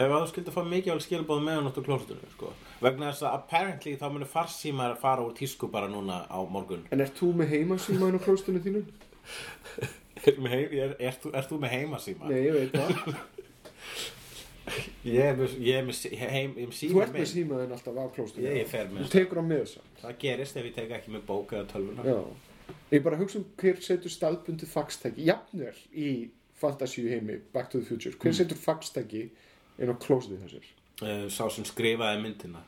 ef að þú skildi að fá mikið alveg skilabóð með hann út á klósetunum sko. vegna þess að apparently þá munu farsímar fara úr tísku bara núna á morgun
En ert þú með heimasímaðin á klóstinu þínu?
er, er, er, er, þú, er þú með heimasíma?
Nei, ég veit það
ég er með, ég er með, sí- heim, ég er með síma
Þú ert
minn.
með símaðin alltaf af klóstinu
Ég- ég fer með.
Þú tekur á með þessa
það gerist ef ég tek ekki með bók eða tölvuna
Já. Ég bara hugsa um hver setur staðbundu fagstæki, jafnvel í fantasíu heimi, Back to the Future,
Mm.
hver setur fagstæki inn á klósið þessir?
uh, sá sem skrifaði myndina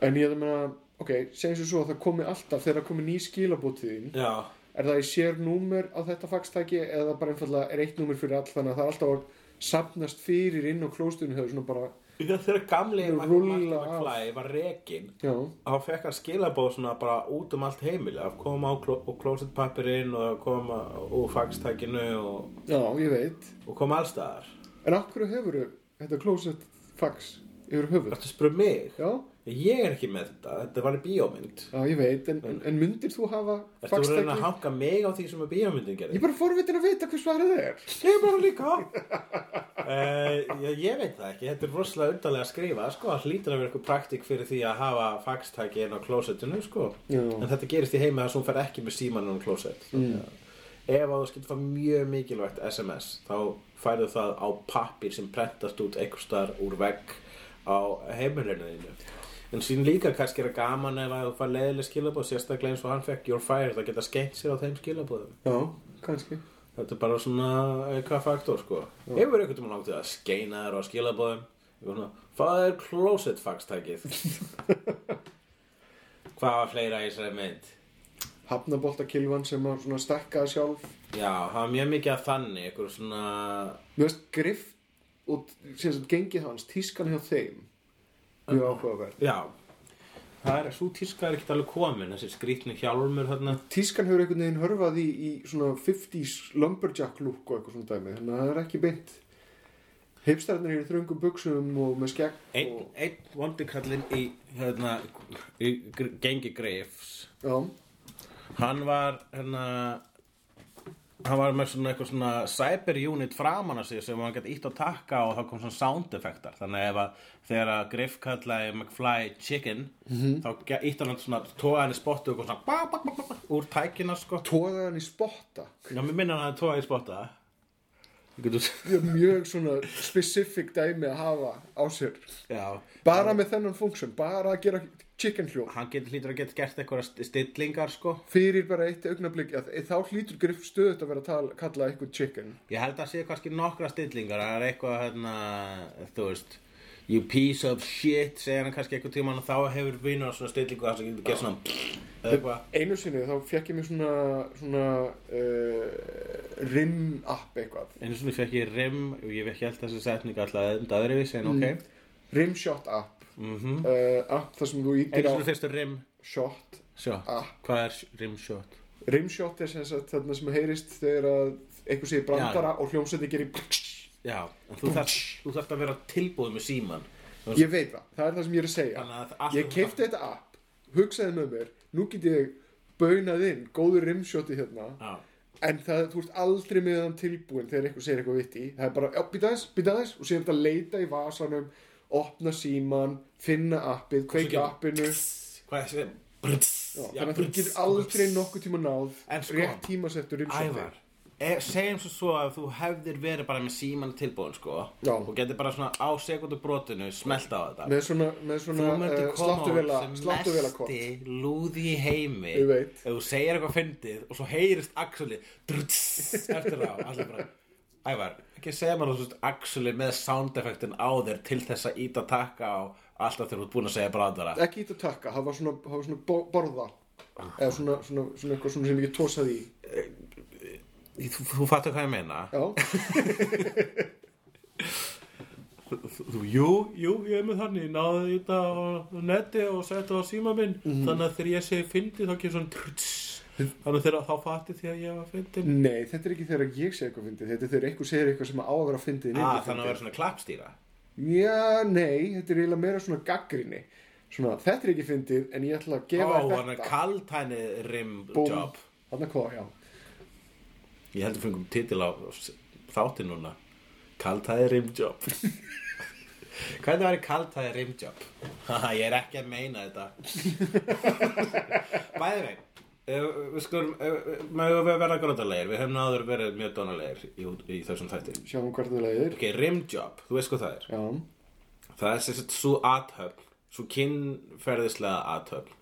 En ég er að meina, ok, segjum sem svo að það komi alltaf, þegar það komi ný skilabótið þín,
já,
er það í sér númer á þetta fagstæki eða bara einfallega er eitt númer fyrir all, þannig að það er alltaf að sapnast fyrir inn á klósiðinu þegar svona bara,
Já, þegar gamli
Þegar
Mac-
rúlla
Marty
af.
McFly var rekin
já,
þá fekk hann skilabóð svona bara út um allt heimili að koma á kló og klósetpapirinn og að koma úr fagstækinu og,
já, ég veit.
og koma allstaðar
En af hverju hefur þetta klósið fags yfir höfuð?
Þetta spurði um mig
Já,
Ég er ekki með þetta, þetta var í bíómynd
já, ég veit, en, en, en myndir þú hafa
Ertu að reyna
fagstæki?
að hanga mig á því sem að bíómyndin
Ég
gerði?
er bara forvitin að vita hvað svarið er.
Ég er bara líka uh, ég, ég veit það ekki, þetta er rosalega undarlega að skrifa sko, það hlýtur að vera eitthvað praktík fyrir því að hafa fagstæki inn á klósetinu sko.
Já.
en þetta gerist í heima þess að hún fer ekki með síman inn á klóset mm. ef að þú skilt fá mjög mikilvægt SMS þá færðu það á pappir sem prentast út einhvers staðar úr vegg á heimilinu þínu en sín líka kannski er að gaman ef að þú fær leiðileg skilabóð sérstaklega eins og hann fekk You're fired að geta skeitt sér á þeim skilabóðum
Já, kannski.
Þetta er bara svona eitthvað faktor sko Hefur einhvern tímann áttið að skeina þér og að skila bóðum svona, Fáðu þér closet fagstækið Hvað var fleira í þessari mynd?
Hafnaboltakilvan sem að svona stekkaði sjálf.
Já, það var mjög mikið af þannig Eitthvað svona
Mér veist griff og sem sagt gengið hans, tískan hjá þeim. Mjög áhugaverð.
Já Það er, svo tíska er ekkert alveg komin Þessi skrýtni hjálmur þarna
Tískan hefur einhvern veginn hörfað í, í svona 50s lumberjack look og eitthvað svona dæmi. Þannig að það er ekki beint. Heipstæðarnir eru í þröngum buksum og með skegg
Einn
og...
ein vondikallinn í, hérna, í gr- gengi greifs
Já,
Hann var hérna hann var með svona eitthvað svona cyber unit framan að sig sem hann gæti ítt á takka og þá kom svona sound effektar þannig ef að þegar að Griff kallaði McFly chicken þá ítt hann svona tóða henni spottu og kom svona bá, bá, bá, bá, bá, úr tækina sko
tóðaði hann í spotta.
Já, mér minna hann að tóða í spotta Ég getur
Mjög- Mjög svona specific dæmi að hafa á sér.
Já,
Bara með þennan funksjón, bara að gera chicken hljóð.
hann getur hlýtur að geta gert eitthvað stillingar sko
fyrir bara eitt augnablík að þá hlýtur griff stöðut að vera að tala, kalla eitthvað chicken
Ég held að sé kannski nokkra stillingar Það er eitthvað hérna Þú veist You piece of shit segir hann kannski eitthvað tíma og þá hefur vinnur svona stillingu þar sem getur gert svona eða eitthvað
einu sinni þá fekk ég mér svona, svona uh, rim app eitthvað
Einu svona fekk ég rim og ég vekk held þessi setningu alltaf enda öðruvís en ok
Mm. rim shot app
mm
uh, app þar sem þú ítir
Einu
á
svona fyrstu rim
shot
shot
Ah.
Hvað er sh- rim shot?
rim shot er sem sagt þarna sem heyrist þegar að einhver segir brandara og hljómsveiti gerir
Já, en þú þarft þú þarft að vera tilbúið með síman
ég veit það, það er það sem ég er að segja
Þannig að allt- um
ég keipti þetta app hugsaði með mér nú get ég baunað inn góðu rimshoti hérna
Já.
en það, þú ert aldrei með þann tilbúin þegar eitthvað segir eitthvað vitt í það er bara, já, býta þess, býta þess og sér þetta að leita í vasanum opna síman, finna appið kveikja
gerir-
appinu já,
Hvað er það? Brts,
þannig að þú getur aldrei nokkuð tíma náð
En sko,
rétt tímasettur rimshoti
Ævar, e, segjum svo svo að þú hefðir verið bara með síman tilbúin sko
Já.
og getur bara svona á sekundu brotinu smelt á þetta
með svona, með
Þú
svona
myndir
uh,
koma
sláttuvela
út sem
sláttuvela kort
mesti lúði í heimi
Ég veit.
ef þú segir eitthvað fyndið og svo heyrist Axeli druts eftir þá allir bara Ævar, ekki segja maður þú veist Axeli með sound effectin á þér til þess að íta takka á alltaf þegar þú ert búin að segja brandara
ekki ít að taka, það var svona, það var svona bo borða
Ah.
eða svona, svona, svona eitthvað svona sem ég tósaði í
Þú, þú fattu hvað ég meina
já,
Þú, jú, jú, ég er með þannig, náðu þetta á netti og setja það á síma minn þannig að þegar ég segi fyndi þá kemur svona truts þannig að þegar þá fatti því að ég var fyndin
nei, þetta er ekki þegar ég segi eitthvað fyndið þetta er þegar eitthvað segir eitthvað sem á að vera fyndið en
ah, Þannig að
ekki fyndið.
vera svona klappstýra
Já, nei, þetta er eiginlega meira svona gaggrinni Svona, þetta er ekki fyndið en ég ætla að
Ó,
gefa þér
hann er
þetta
kaltæni rim
Búmm.
job
Þarna hvað, já
Ég heldur fengum titil á þáttin núna Kaltæni rim job Hvernig væri kaltæni rim job? Haha, ég er ekki að meina þetta Bæði veginn eh, Við skulum, maður við verða grótalegir, við hefum áður verið mjög donalegir í, í þessum þætti.
Sjáum hvert það leiðir
Ok, rimjob, þú veist hvað það er.
Já,
Það er sem sagt svo aðhöfn, svo kynferðislega aðhöfn.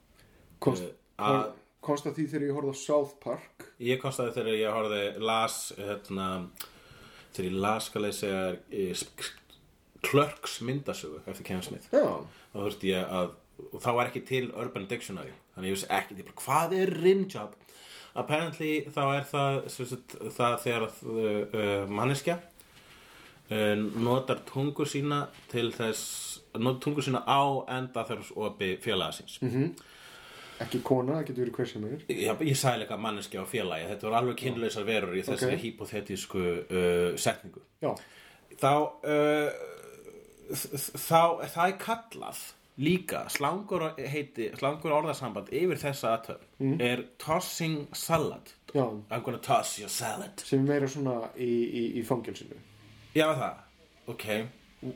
komst,
Eh, að-
komst að því þegar ég horfði á South Park
Ég konstaði þegar ég horfði las hérna, þegar ég las skal ég segja eh, sk- sk- Clerks myndasögu eftir Kevin Smith
Já,
þá þurfti ég að og þá var ekki til Urban Dictionary þannig ég vissi ekki, ég bara, hvað er rimjob? Apparently þá er það sem sagt, það þegar að, uh, uh, manneskja uh, notar tungu sína til þess notar tungu sína á enda þess opi félaga síns
ekki kona, það getur verið hver sem er
Já, ég sagði líka manneskja og félagi þetta voru alveg kynlausar verur í þessari
Ok.
hypothetísku uh, setningu
Já,
þá uh, þ- þá það er kallað líka slangur, heiti, slangur orðasamband yfir þessa aðtöf
Mm.
er tossing salad
já,
I'm gonna toss your salad
sem er meira svona í, í, í fangilsinu
Já, það, ok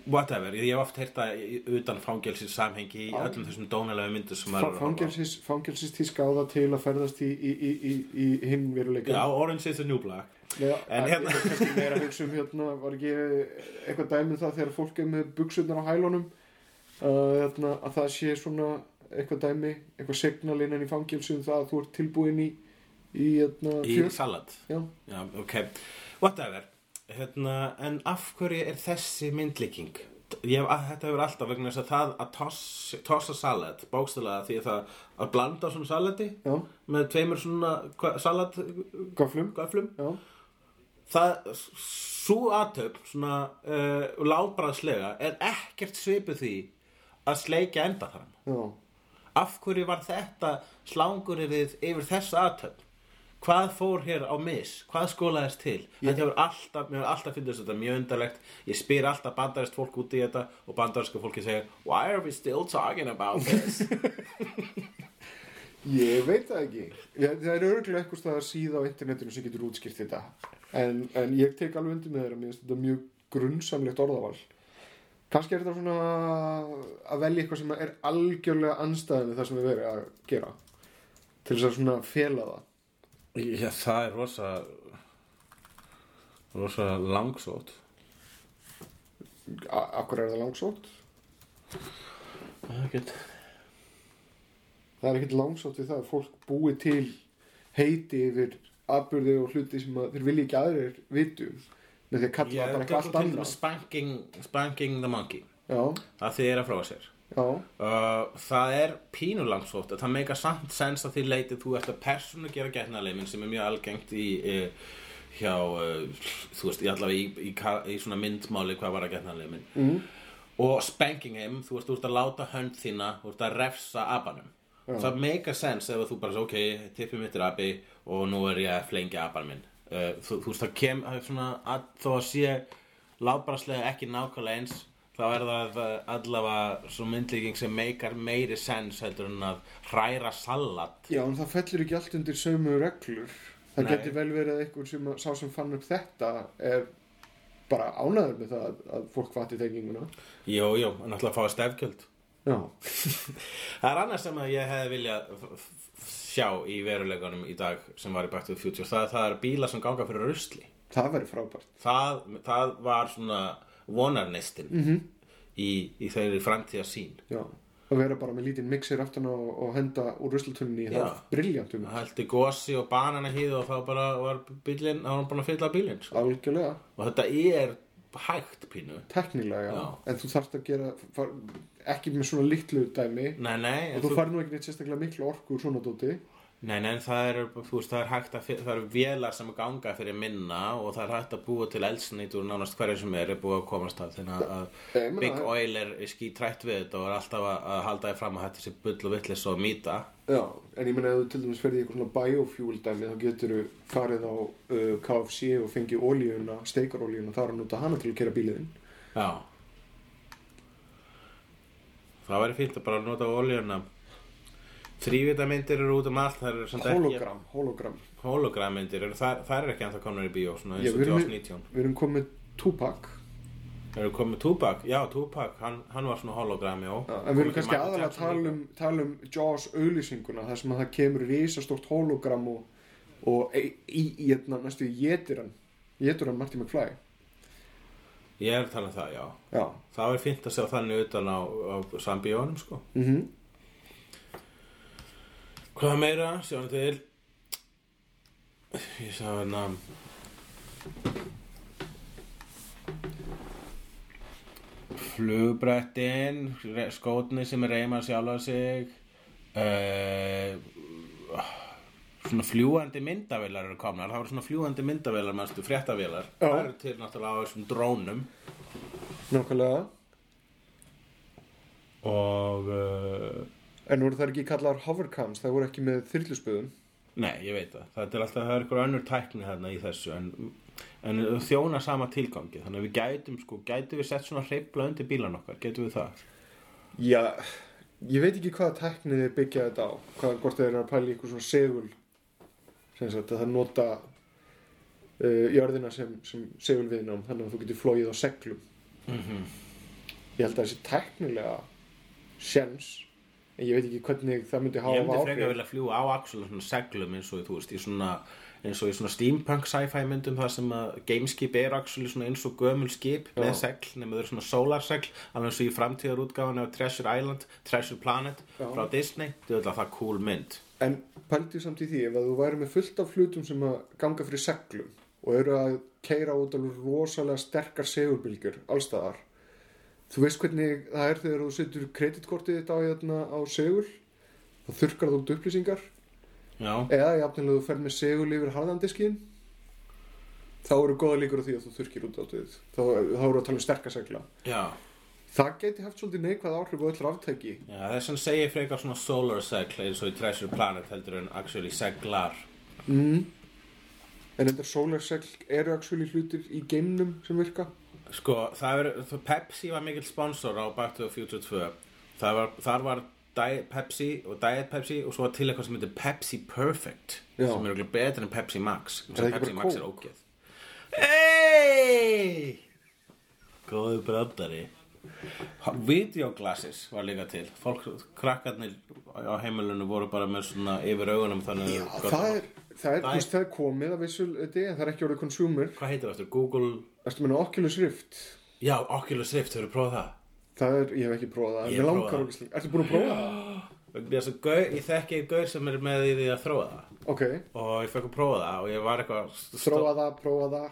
whatever, ég hef oft heyrt það í- utan fangelsis samhengi í öllum þessum dónalega myndir sem maður er að horfa á.
Fangelsis, fangelsis tíska á það til að ferðast í, í, í, í, í hinn
Já,
veruleika
Orange is the New Black
Já,
En
en
hérna-
hérna kannski meira að hugsa um hérna var ekki eitthvað dæmið það þegar fólk er með buksunar á hælunum uh, hérna, að það sé svona eitthvað dæmi, eitthvað signal innan í fangilsu um það að þú ert tilbúin í í hérna
í
fjör
salad
Já,
Já, ok, whatever hérna, En af hverju er þessi myndlíking? Ég, hef- að, þetta hefur alltaf vegna þess að það að toss, tossa salat, bókstælega því að það að blanda svona salati
já,
með tveimur svona hva- salatgöflum
gaflum Já,
það, svo aðtöp svona uh, lábræðslega er ekkert svipuð því að sleikja enda þar
já,
Af hverju var þetta slangurrið yfir þessa aðtöfn? Hvað fór hér á mis? Hvað skólaðist til? Þetta hefur alltaf, mér hefur alltaf fyndist þetta mjög undarlegt. Ég spyr alltaf bandarist fólk út í þetta og bandarinska fólki segja Why are we still talking about this?
ég veit það ekki Já, Það er örgulega eitthvað staðar síða á internetinu sem getur útskýrt þetta en, en ég tek alveg undir með þeirra mér finnst þetta mjög grunnsamlegt orðaval Kannski er þetta svona að velja eitthvað sem er algjörlega anstæðinu það sem við verið að gera til þess að svona fela það.
Já, það er rosa rosa langsótt.
A- Akkur er það langsótt?
Ekkert.
Það er ekkert langsótt við það að fólk búi til heiti yfir atbyrði og hluti sem að þeir vilja ekki aðrir vitu með því að kalla
Ég
það bara
er
eitthvað allt
ekki
annað.
spanking, spanking the monkey.
Já,
Það þið er að frá sér.
já,
Uh, það er pínu langsótt en það meika samt sens að því leiti þú ert að persónu gera getnaðleimin sem er mjög algengt í uh, hjá, uh, þú veist, í allavega í, í, ka- í svona myndmáli hvað var að getnaðleimin mm. og spanking him, þú veist, þú ert að láta hönd þína þú ert að refsa abanum það meika sens ef þú bara, ok, tippið mitt er abi og nú er ég að flengja aban minn uh, þú, þú veist, það kem það er svona að, þó að sé lábraslega ekki nákvæmlega eins þá er það eh, allavega svo myndlíking sem meikar meiri sens heldur en að hræra salat
Já, en það fellur ekki allt undir sömu reglur. Það
Nei.
getur vel verið að einhver sem sá sem fann upp þetta er bara ánæður með það að, að fólk fatti tenginguna.
Jú, jú, en alltaf að fá stefkjöld
Já.
Það er annað sem að ég hefði viljað f- f- f- sjá í veruleikunum í dag sem var í Back to the Future það, það er bíla sem ganga fyrir rusli
Það verður frábært.
það, það var svona vonarnistin -hmm. í, í þeirri framtíða sín
Já. Að vera bara með lítinn mixir aftan á og henda úr ruslatunni í um.
Já.
það. Briljantum.
það hælti gósi og banana hýðu og þá bara var bílinn, þá var hann búin að fylla bílinn sko.
Algjörlega.
og þetta er hægt pínu
Teknilega, já.
Já.
En þú þarft að gera, far, ekki með svona litlu dæmi.
Nei, nei, en
Og þú fær nú ekki neitt sérstaklega miklu orku úr svona dóti.
nei, nei en það, er, þú veist, það er hægt að fyr- það eru vélar sem ganga fyrir minna og það er hægt að búa til elsnýt úr nánast hverju sem er er búið að komast að þannig að-
Ég meina
að Big
það.
Oil er skítrætt við þetta og er alltaf að, að halda því fram að þetta sé bull og vittlis og mýta
Já, en ég meina ef þú til dæmis ferði í eitthvað svona biofuel dæmi þá getur þú farið á uh, KFC og fengið ólíuna, steikarólíuna þá er að nota hana til að kera bíliðin
Já Það væri fínt að bara nota oljuna Þrývitamyndir eru út um allt Það eru samt ekki
Hologram, hologram
Hologramyndir, eru- þær þær eru ekki ennþá komnar í bíó Svona
Já,
eins og
við erum,
Jaws
með,
19
við erum komið Tupac
Eru komið Tupac? Já, Tupac, hann, hann var svona hologram, já
en við erum kannski aðalega að tala um, tala um Jaws auðlýsinguna þar sem að það kemur risastort hologram og, og í, í, í hérna, næstu í jetiran jetiran Marty McFly
Ég er að tala um það, já
Já,
Það væri fínt að sjá þannig utan á, á sambíónum, sko
mm
Hvað meira, sjáum til Ég sá hérna Flugbrettin Skótni sem reyma sjálfa sig uh, Svona fljúandi myndavélar eru komnar Það voru svona fljúandi myndavélar, mannstu, fréttavélar
Já.
Það eru til náttúrulega á þessum drónum
nákvæmlega
Og uh,
En voru það ekki kallar hovercams, það voru ekki með þyrlusböðum
Nei, ég veit það. Það er alltaf, það er ykkur önnur tækni þarna í þessu en, en þjóna sama tilgangi. Þannig að við gætum, sko, gætum við sett svona hreifla undir bílan okkar, gætum við það?
Já, ég veit ekki hvaða tækni þeir byggja þetta á hvað, hvort þeir eru að pæla í eitthvað svona segul sem sagt að það nota uh, jörðina sem, sem segulviðnám þannig að þú getur flóið á seglum
Mhm.
Ég held að þessi tæknilega sjens en ég veit ekki hvernig það myndi
ég
hafa
myndi frekar vilja fljúa á axla svona seglum eins og, þú veist, í svona, eins og í svona steampunk sci-fi myndum þar sem að gameskip er axli svona eins og gömul skip með segl, nema þau eru svona sólarsegl, alveg eins og í framtíðarútgáfan af Treasure Island, Treasure Planet frá Disney. Þetta er alltaf cool mynd.
En pældu samt í því ef að þú væri með fullt af hlutum sem að ganga fyrir seglum og eru að keira út alveg rosalega sterkar segulbylgjur allstaðar þú veist hvernig það er þegar þú setur kreditkortið þetta á, hérna, á segul þá þurrkar þú út upplýsingar
Já,
eða jafnilega þú fer með segul yfir harðandiskin þá eru góða líkur á því að þú þurrkir út áttið þá, þá eru að tala um sterkar segla
já.
það geti haft svolítið neikvæð áhrif á öll ráftæki
Já, þess að segja frekar svona solar segl eins og í Treasure Planet heldur en actually seglar
en þetta sólarsegl eru actually hlutir í geimnum sem virka
Sko, það er, það, Pepsi var mikill sponsor á Back to the Future 2 það var, Þar var Diet Pepsi og Diet Pepsi og svo var til eitthvað sem heitir Pepsi Perfect
Já.
sem er örugglega betur en Pepsi Max
Er það ekki
Pepsi
bara
Max
kók?
er ógeð Hey! Góðu bröndari Videoglassis var líka til Fólk, krakkarnir á heimilinu voru bara með svona yfir augunum þannig að
Já,
þau gátu-
það er, það er,
Það
þú veist, það er komið að vissul þetta, en það er ekki orðið consumer.
Hvað heitir það aftur? Google
Erstu meina Oculus Rift?
Já, Oculus Rift, hefur prófað það?
Það er, ég hef ekki prófað það,
Ég prófaði
en mér langar
það.
okkur slík. Ertu búin að prófa það?
Vegna þess að gau, ég þekki einn gaur sem er með í því að þróa það
Ok,
og ég fekk að prófa það og ég var eitthvað st-
þróa það, prófa það.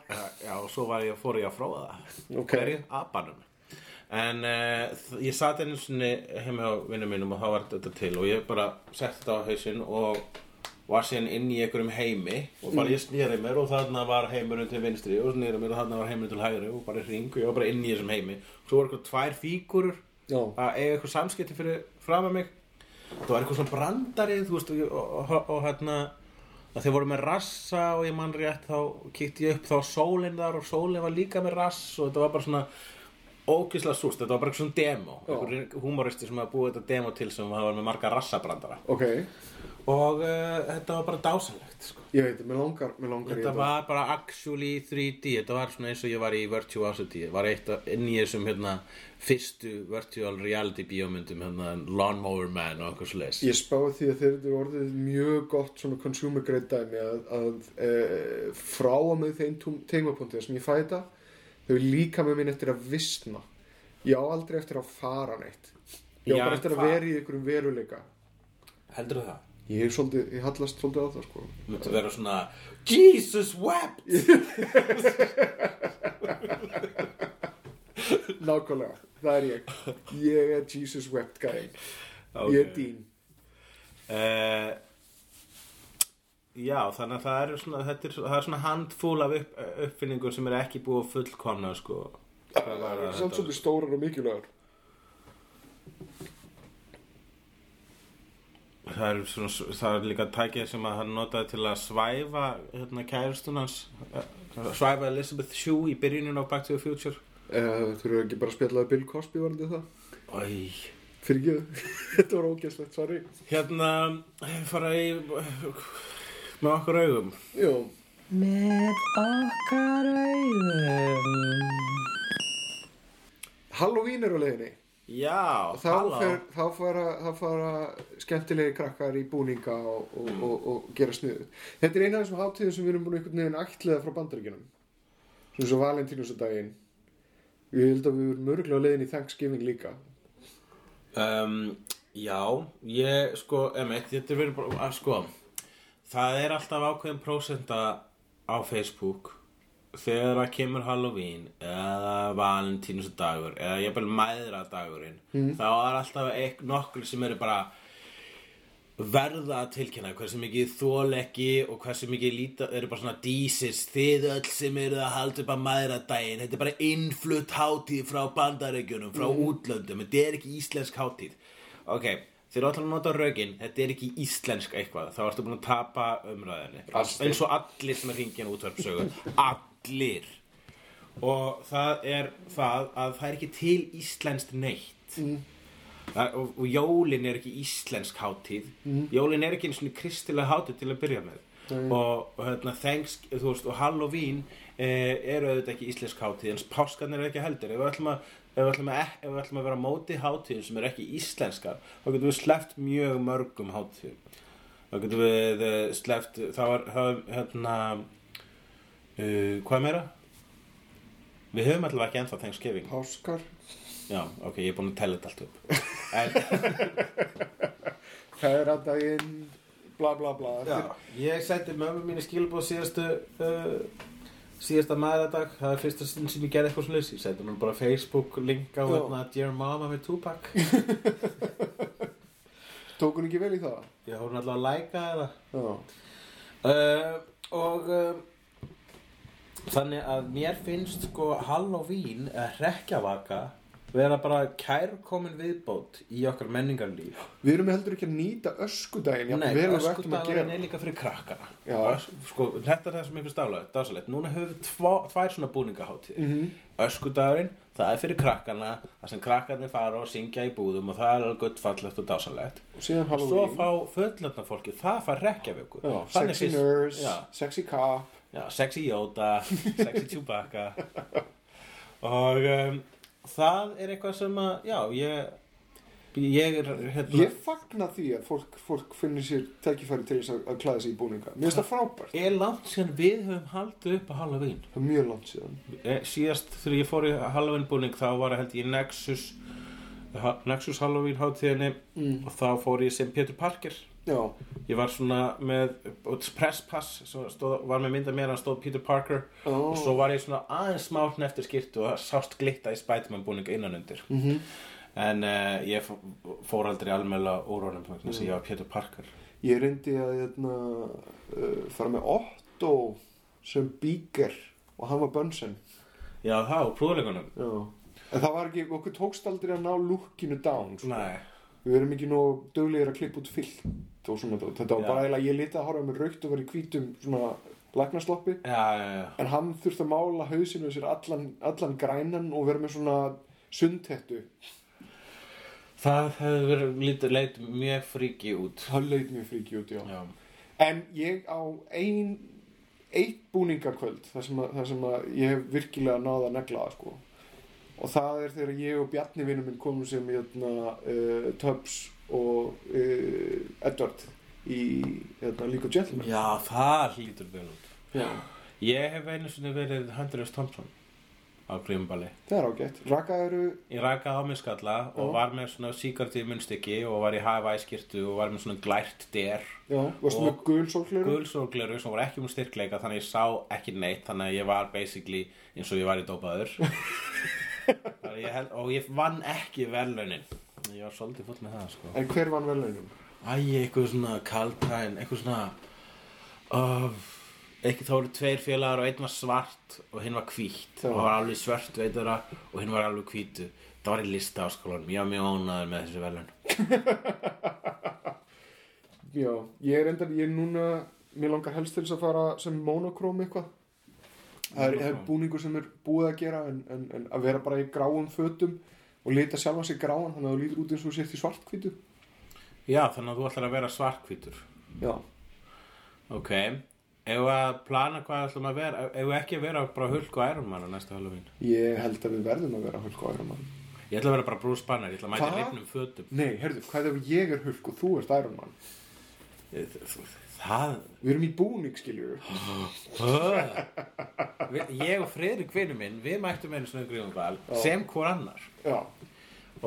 Já, og svo var ég, fór ég að fróa það
Ok.
Hverju? Abanum En uh, ég sat einu sinni heim hjá vinnum mínum og þá var þetta til og ég bara setti þetta á hausinn og var síðan inn í einhverjum heimi og
Mm.
bara ég snýri mér og þarna var heimurinn til vinstri og snýri mér og þarna var heimurinn til hægri og bara hring og ég var bara inn í þessum heimi svo voru eitthvað tvær fígurur
Já.
að eiga eitthvað samskipti fyrir fram að mig það var eitthvað svona brandari þú veist og, og, og, og hérna að þeir voru með rassa og ég mann rétt þá kíkti ég upp þá var sólin þar og sólin var líka með rass og þetta var bara svona ógislega súst, þetta var bara eitthvað svona demo
Já.
einhverjir húmoristi sem hafa búið þetta demo til sem hafa með marga rassabrandara
ok,
og uh, þetta var bara dásanlegt sko.
ég veit, mér langar, mér langar í
þetta var bara actually 3D þetta var svona eins og ég var í Virtuosity var eitt af- inn í þessum hérna, fyrstu virtual reality bíómyndum hérna, Lawnmower Man og eitthvað slags
Ég spáði því að þeir eru orðið mjög gott svona consumer grade dæmi að, að e, frá að með þeim tegmapunktið sem ég fæ þetta þau líka með minn eftir að visna ég á aldrei eftir að fara neitt ég
Já,
á bara
en
eftir að
hvað-
vera í einhverjum veruleika
heldur það?
ég, hef svolítið, ég hallast svolítið á það sko
Þetta verður svona Jesus wept
Nákvæmlega, það er ég ég er Jesus wept guy ég er Dean
uh, Já, þannig að það eru svona, þetta er, svo- það er svona handfúl af upp, uppfinningum sem er ekki búið að fullkomna sko. Hvað var það
samt
þetta?
svolítið stórar og mikilvægur
það er, svona, það er líka tækið sem að hann notaði til að svæfa hérna, kærustunans svæfa Elizabeth Shue í byrjunin á Back to the Future
uh, Þú eru ekki bara að spjallaði Bill Cosby varandi það
Æ.
fyrir þetta var ógæslegt, sorry
Hérna fara í með okkur augum
Jú,
Með okkar auðum.
Halloween er á leiðinni
Já,
þá, fer, þá, fara, þá fara skemmtilegi krakkar í búninga og, og, og, og gera snuðu þetta er eina af þessum hátíðum sem við erum búin einhvern veginn ætliða frá bandaríkjunum svona svo valentínusadaginn ég held að við erum mörgulega leiðin í Thanksgiving líka
Um, já, ég sko, emitt, þetta er verið bara, að sko, það er alltaf ákveðin prósenda á Facebook þegar það kemur Halloween eða Valentínus dagur eða ég bara mæðra dagurinn þá er alltaf ek, nokkur sem eru bara verða að tilkynna hversu mikið þól ekki og hversu mikið líta, eru bara svona dísis þið öll sem eru að halda upp að maðra daginn þetta er bara innflutt hátíð frá bandarækjunum, frá útlöndum þetta er ekki íslensk hátíð ok, þeir eru alltaf að nota rögin þetta er ekki íslensk eitthvað þá ertu búin að tapa umræðinni
Allt.
eins og allir sem er hringin útvarpsögu allir og það er það að það er ekki til íslenskt neitt Það- og, og jólin er ekki íslensk hátíð jólin er ekki einu svona kristilega hátíð til að byrja með og, og hérna, thanks, þú veist, og Halloween eh, eru auðvitað ekki íslensk hátíð en páskarnir eru ekki heldur ef við ætlum að, ef við ætlum að, ek- ef við ætlum að vera á móti hátíðum sem eru ekki íslenskar þá getum við sleppt mjög mörgum hátíðum þá getum við eh, sleppt þá er, þá er hérna uh, hvað meira? Við höfum allavega ekki ennþá Thanksgiving
Páskar
Já, ok, ég er búin að tella þetta allt upp En,
Fæðradaginn bla bla bla
Já, ég sendi mömmu mínu skilbúð síðastu uh, síðasta maðurdag það er fyrsta stund sem ég gerði eitthvað svona ég sendi hún bara Facebook link á
Já.
hérna, Dear Mama með Tupac
tók hún ekki vel í það
ég hún alltaf að læka það
Já.
uh, og uh, þannig að mér finnst sko Halloween eða hrekkjavaka vera bara kærkomin viðbót í okkar menningarlíf
við erum heldur ekki að nýta öskudaginn jafn
Nei,
vel og við ættum að
öskudagurinn
gera.
er líka fyrir krakkana
Já.
Ösk- sko, Þetta er það sem ég finnst dálega, dásalegt Núna höfum við tvo, tvær svona búningaháttíð
Mhm.
mm -hmm. Öskudagurinn, það er fyrir krakkana Það sem krakkarnir fara og syngja í búðum Og það er alveg guttfallegt og dásalegt
og síðan
Svo
Halloween
fá föllöfna fólki, það fá rekkjavöku
Já, sexy nurse,
já,
sexy cop
já, Sexy Yoda, sexy Chewbacca Og um, það er eitthvað sem að, já, ég Ég er, hérna
Ég fagna því að fólk, fólk finnir sér tækifæri til þess að, að klæða sig í búninga. Mér finnst það frábært.
er langt síðan við höfum haldið upp að Halloween
Það er mjög langt síðan.
Eh, síðast þegar ég fór í Halloween búning þá var held ég í Nexus ha, Nexus Halloween hátíðinni og þá fór ég sem Pétur Parker
Já,
ég var svona með presspass, stóð, var með mynda mér hann stóð Peter Parker
Ó.
og svo var ég svona aðeins smátn eftir skýrtu og það sást glitta í Spiderman búninga innan undir -hmm. en uh, ég fó- fór aldrei almela úr honum vegna þess að ég var Peter Parker
ég reyndi að hérna, uh, fara með Otto sem bíker og hann var Bunsen.
já þá, prúðuleikunum
Já. En það var ekki, okkur tókst aldrei að ná lukkinu down. Sko.
nei
Við erum ekki nóg döglegir að klippa út fyllt og svona. Þetta var
Já.
bara eiginlega, ég liti að horfa með raukt og verið hvítum svona lagnasloppi.
já, já, já
En hann þurfti að mála hausinu sér allan, allan grænan og vera með svona sundhettu
Það hefði verið lítið leit mjög fríki út.
það leit mjög fríki út, já.
Já.
en ég á ein eitt búningarkvöld þar sem, að, þar sem að ég hef virkilega náða að negla það sko og það er þegar ég og Bjarni vinnum minn komum sem jötna, uh, Tubbs og uh, Edward í jötna, League of Gentlemen
Já, það lítur vel út.
Já.
Ég hef einu sinni verið Hunterus Thompson á grímballi.
það er ágætt, raka eru
Ég rakaði á mig skalla og
Já.
var með svona síkartu í munnstykki og var í hæfæskirtu og var með svona glært der.
já, varstu
Og-
með gul sólkleru
Gulsorgleru sem voru ekki um styrkleika þannig að ég sá ekki neitt þannig að ég var basically eins og ég var í dópaður Þannig að ég held, og ég vann ekki verðlaunin ég var svolítið full með það sko
en hver vann velunum?
Æ, eitthvað svona kaltæn eitthvað svona uh, eitthvað þá voru tveir félagar og einn var svart og hinn var hvítt
Já.
og hann var alveg svört veitara og hinn var alveg hvítu það var í lista áskólanum, ég var mjög ónaður með þessu verðlaun
já, ég er endar, ég er núna mér langar helst til þess að fara sem monokróm eitthvað það er, það er
Monochrome.
búningur sem er búið að gera en, en, en að vera bara í gráum fötum og lita sjálfa sig gráan þannig að þú lítur út eins og þú sért í svartkvítu
já, þannig að þú ætlar að vera svarthvítur
já,
Ok, ef að plana hvað ætlum að vera, ef við ekki að vera bara hulk og Iron Man á næsta Halloween
ég held að við verðum að vera hulk og Iron Man
Ég ætla að vera bara Bruce Banner, ég ætla að mæta
Hvað?
rifnum fötum
nei, herðu, hvað ef ég er hulk og þú ert Iron Man
Það
við erum í búning, skiljur
Við- Ég og Friðrik vinnu minn, við mættum einu svona grífumbal sem hvor annar
já,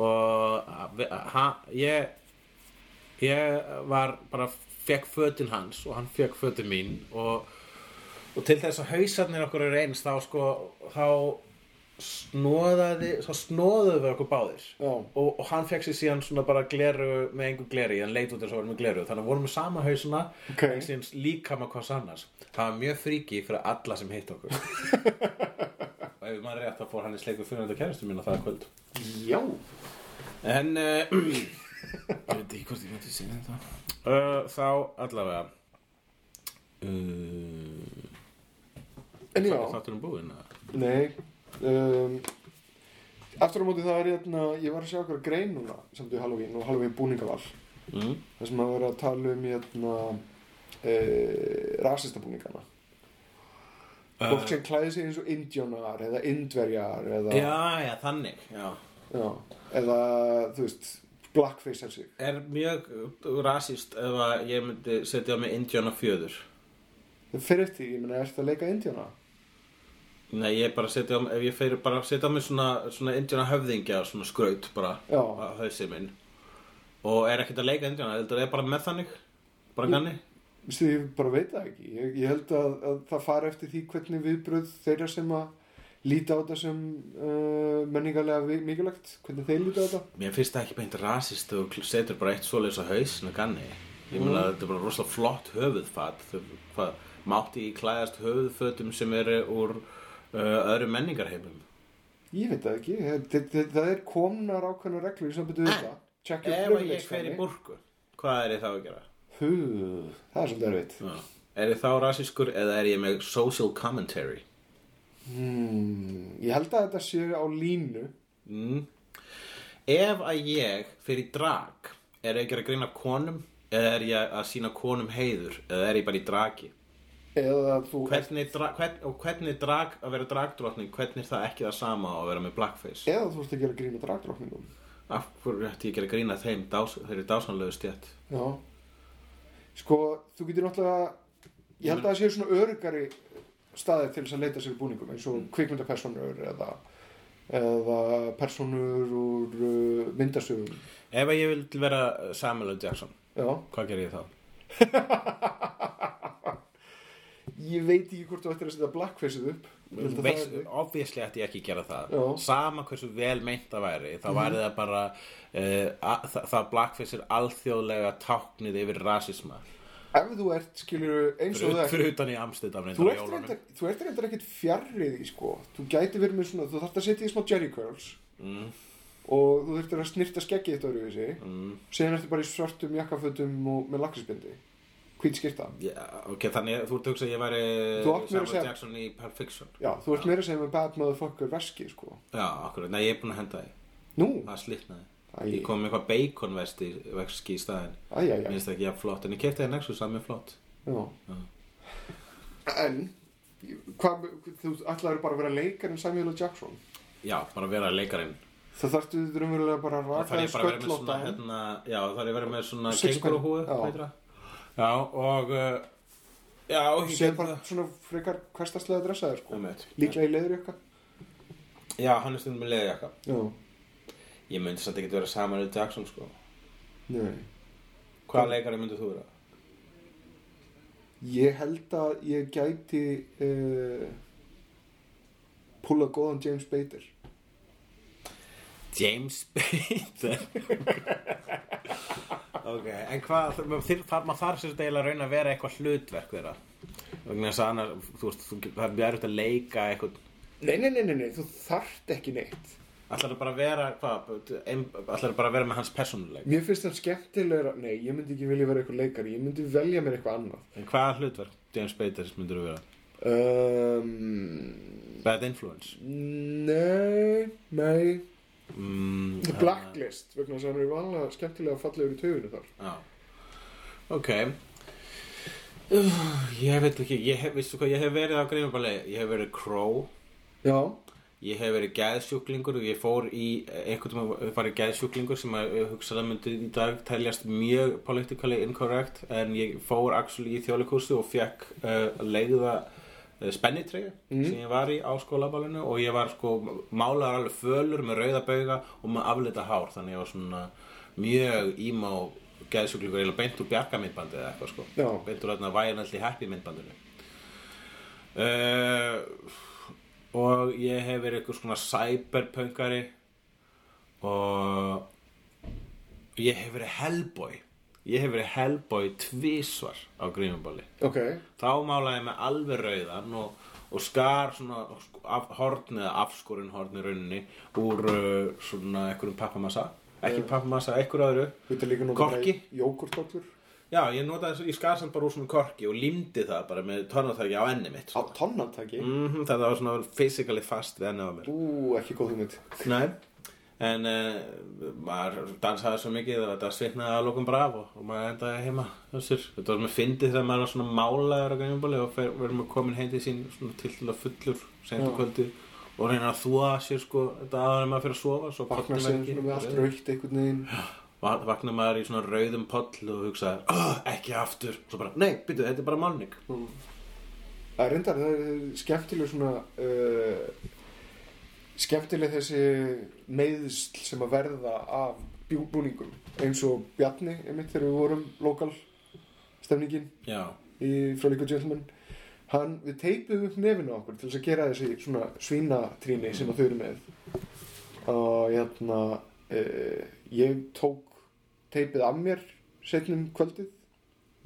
og við- ha, ég ég var bara fekk fötin hans og hann fekk fötin mín og, og til þess að hausarnir okkur eru eins þá sko þá snóðaði þá snóðuðu við okkur báðir
já,
og, og hann fekk sér síðan svona bara gleru með engu gleri, hann leit út eins og var með gleru þannig að vorum við sama hausuna
Ok.
en sem líkama hvers annars það var mjög fríki fyrir alla sem hitt okkur og ef maður er rétt þá fór hann í sleiku fyrir þetta kæristu mín á það kvöld
já
En uh, Ég veit ekki hvort ég veit að segja þetta uh, Þá allavega uh,
en já,
Þáttur um búin eða?
Nei um, Aftur á móti það er hérna Ég var að sjá okkur grein núna Samt við Halloween og Halloween búningaval
mm.
Það sem að vera að tala um hérna e, Rasista búningana Fólk sem klæði sig eins og indjónar Eða indverjar Eða,
Já, já, þannig já.
já, eða þú veist Blackface er sig
Er mjög rasist ef að ég myndi setja á mig indjóna fjöður
Það fer eftir, því, ég meina, ertu að leika indjóna?
Nei, ég bara setja á mig Ef ég fer bara setja á mig svona, svona indjóna höfðingja Svona skraut bara
Já.
á Hausinn minn Og er ekkert að leika indjóna Þetta er bara með þannig Bara ganni
Vistu, ég bara veit það ekki. Ég, ég held að, að það fara eftir því hvernig viðbröð þeirra sem að líta á þetta sem uh, menningarlega vi- mikilvægt, hvernig þeir líta á þetta.
Mér finnst það ekki beint rasist og setur bara eitt svoleiðis á hausinu ganni. Ég meina þetta er bara rosalega flott höfuðfat. Þau- Hvað, mátti í klæðast höfuðfötum sem eru úr uh, öðrum menningarheimum.
Ég veit það ekki. Það, það, það er komnar ákveðna reglur sem betur þetta. Check your
Ef að ég
privilege.
fer í
þannig.
burku, hvað er ég þá að gera?
Hú, það er svolítið erfitt.
Já. Er ég þá rasiskur eða er ég með social commentary?
Hmm, ég held að þetta sé á línu.
Mm. Ef að ég fer í drag, er ég að gera grín af konum eða er ég að sína konum heiður eða er ég bara í dragi?
Eða að þú...
hvernig, dra, hvern, og hvernig drag að vera dragdrottning, hvernig er það ekki það sama að vera með blackface?
Eða þú ert að gera grína dragdrókningum.
Af hverju ætti ég að gera grína þeim, dás, þeir eru dásanlegu stjætt?
Já. Sko, þú getur náttúrulega... Ég held að það séu svona örugari staðið til þess að leita sér í búningum eins og
Mm.
kvikmyndapersonur eða, eða personur úr uh, myndasögum.
Ef að ég vil vera Samuel L. Jackson,
Já.
hvað ger ég þá?
Ég veit ekki hvort þú ættir að setja blackface-ið upp. Ég held að
Veist,
það er-
obviously ætti ég ekki að gera það
Já. Mhm.
sama hversu vel meint það væri þá væri það bara uh, að, það, það blackface er alþjóðlega táknið yfir rasisma
Ef þú ert, skilur, eins og
fyrir,
það...
fyrir utan í Amsterdam
Þú
reyndar á
ert,
jólunum.
reyndar, þú ert reyndar ekkert fjarrið í sko Þú gæti verið með svona, þú þarft að setja í smá jerry curls
Mm.
Og þú þurftir að snirta skeggið þetta öruvísi
mm.
Síðan ertu bara í svörtum jakkafötum og með lakkisbindi Hvít skyrta
Já, ok, þannig þú ert að hugsa að ég væri
Þú átt mér að
Samuel
segja-
Jackson í Pulp Fiction
Já, þú ert meira að segja með bad motherfucker veski sko
Já, akkurat, nei ég er búin að henda því
Nú,
það slitnaði
æj,
ég kom með eitthvað bacon vesti veski í staðin
æj, æj,
mér
æj,
finnst það ekki jafn flott en ég kefti það Nexus það er mjög flott
já. En, hvað, þú ætlaður bara að vera leikar en Samuel L. Jackson?
já bara vera leikarinn
Það þarftu raunverulega bara að
það
raka
þarf
þér
ég bara að vera með
sköllóta
svona
henn.
hérna, já það þarf ég að vera með svona
Sixpack,
kengur og
já.
húi já og uh, já ég
Sér
gerði
bara
það.
svona frekar hverstaslega dressaður, sko.
hérna. Einmitt.
Líklega í leiður ykkur.
já hann er stundum með leðjaka
Já,
ég myndi samt ekki vera saman við Jackson sko
nei.
hvaða leikari myndið þú vera?
Ég held að ég gæti uh, púla góðan James Bader.
James Bader ok, en hvað maður þyr- þar- maður þarf sér degilega að rauna að vera eitthvað hlutverk þeirra vegna þess að annars, þú veist, þú, það er mjög erfitt að leika eitthvað,
Nei, nei, nei, nei, nei, þú þarft ekki neitt.
ætlar bara að vera hvað, ætlar bara að vera með hans persónuleik
Mér finnst það skemmtilegra, nei, ég myndi ekki vilja vera eitthvað leikari, ég myndi velja mér eitthvað annað.
en hvaða hlutverk James Bader myndir þú vera?
Um,
Bad Influence
nei, nei,
mm,
The Blacklist, vegna þess að hann er vanlega skemmtilega fallegur í töfunu þar.
Já. Ok. Uh, ég veit ekki, ég hef, vissu hvað, ég hef verið á grímubalegi, ég hef verið Crow,
Já,
ég hef verið geðsjúklingur og ég fór í, einhvern tímann farið geðsjúklingur sem að eh, hugsaðlega myndi í dag teljast mjög politically incorrect en ég fór actually í þjóðleikúsi og fekk uh, leiða uh, spennitreyju sem ég var í á skólaballinu og ég var sko málaðar alveg fölur með rauða bauga og með aflita hár þannig ég var svona mjög ímá geðsjúklingur eiginlega beint úr bjargamindbandi eða eitthvað sko
Já.
beint úr þarna væjanalli happy myndbandinu uh, og ég hef verið eitthvað svona cyberpunkari og ég hef verið Hellboy ég hef verið Hellboy tvísvar á grímubáli
ok,
þá málaði ég með alveg rauðan og, og skar svona af, horn eða afskorinn horn í rauninni úr uh, svona einhverjum pappamassa ekki pappamassa, einhverju öðru
þetta er líka
Korki?
jógurtokkur.
já, ég notaði, ég skar samt bara úr svona korki og límdi það bara með tónatæki á enni mitt
Á tonnataki?
mm þetta var svona physically fast við ennið á mér
Ú, ekki góð hugmynd.
Nei, en uh, maður dansaði svo mikið og þetta svitnaði að lokum braf og, og maður endaði heima hjá sér. Þetta var með fyndið þegar maður var svona málaður á gæmjumbóli og fer, verðum að komin heim til sín svona tiltulega fullur sent
Já.
og kvöldi og reyna að þúa sér sko þetta aðan maður fyrir að sofa svo
Vakna
pollinn
sér
verður
svona með allt
rauður.
raukt einhvern veginn.
Va- Vaknar maður í svona rauðum poll og hugsaði, oh, ekki aftur og svo bara, nei, byrju, þetta er bara málning
Það er reyndar, það er skemmtileg svona, uh, skemmtileg þessi meiðsl sem að verða af bjúbúningum. Eins og Bjarni, einmitt, þegar við vorum lokal stemningin
Já,
í Frolic og Gentleman. Hann, við teipum upp nefinu á okkur til þess að gera þessi svona svínatríni sem að þau eru með. Og hérna, uh, ég tók teipið af mér setnum kvöldið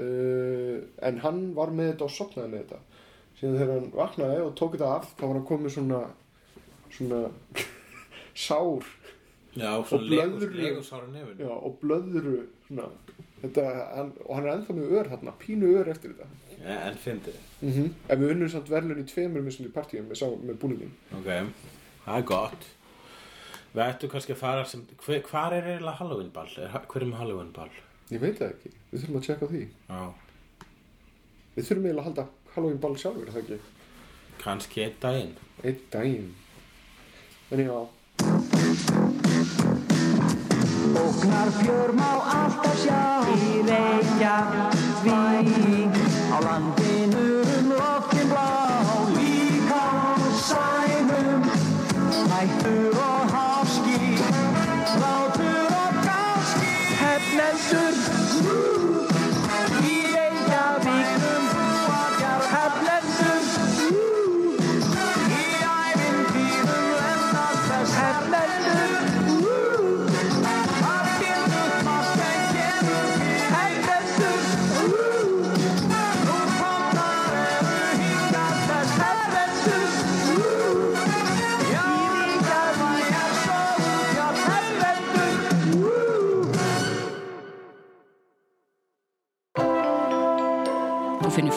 uh, en hann var með þetta og sopnaði með þetta síðan þegar hann vaknaði og tók þetta af þá var hann komið svona svona sár
já, svona legus,
blöðrur.
legusára nefn
já, og blöðru svona, þetta, hann, og hann er ennþá með ör þarna, pínu ör eftir þetta
En fyndið,
mm en við unnum samt verðlun í tveimur mismunandi partíum með, sá- með búningin
Ok, það er gott Við ættum kannski að fara sem hver, Hvar er eiginlega Halloween ball? Er, hver er með Halloween ball?
ég veit það ekki, við þurfum að tjekka á því
Já
við þurfum eiginlega að halda Halloween ball sjálfur, er það ekki
Kannski einn daginn
einn daginn en já,
Óknarfjör má alltaf sjá í Reykjavík Á landinu um loftin blá Líka á sænum Hættur og háski Látur og gáski Hefnendur Í Reykjavíkum Vakar hefnendur Í ævintýrum lendast þess hefnendur
Þú finnir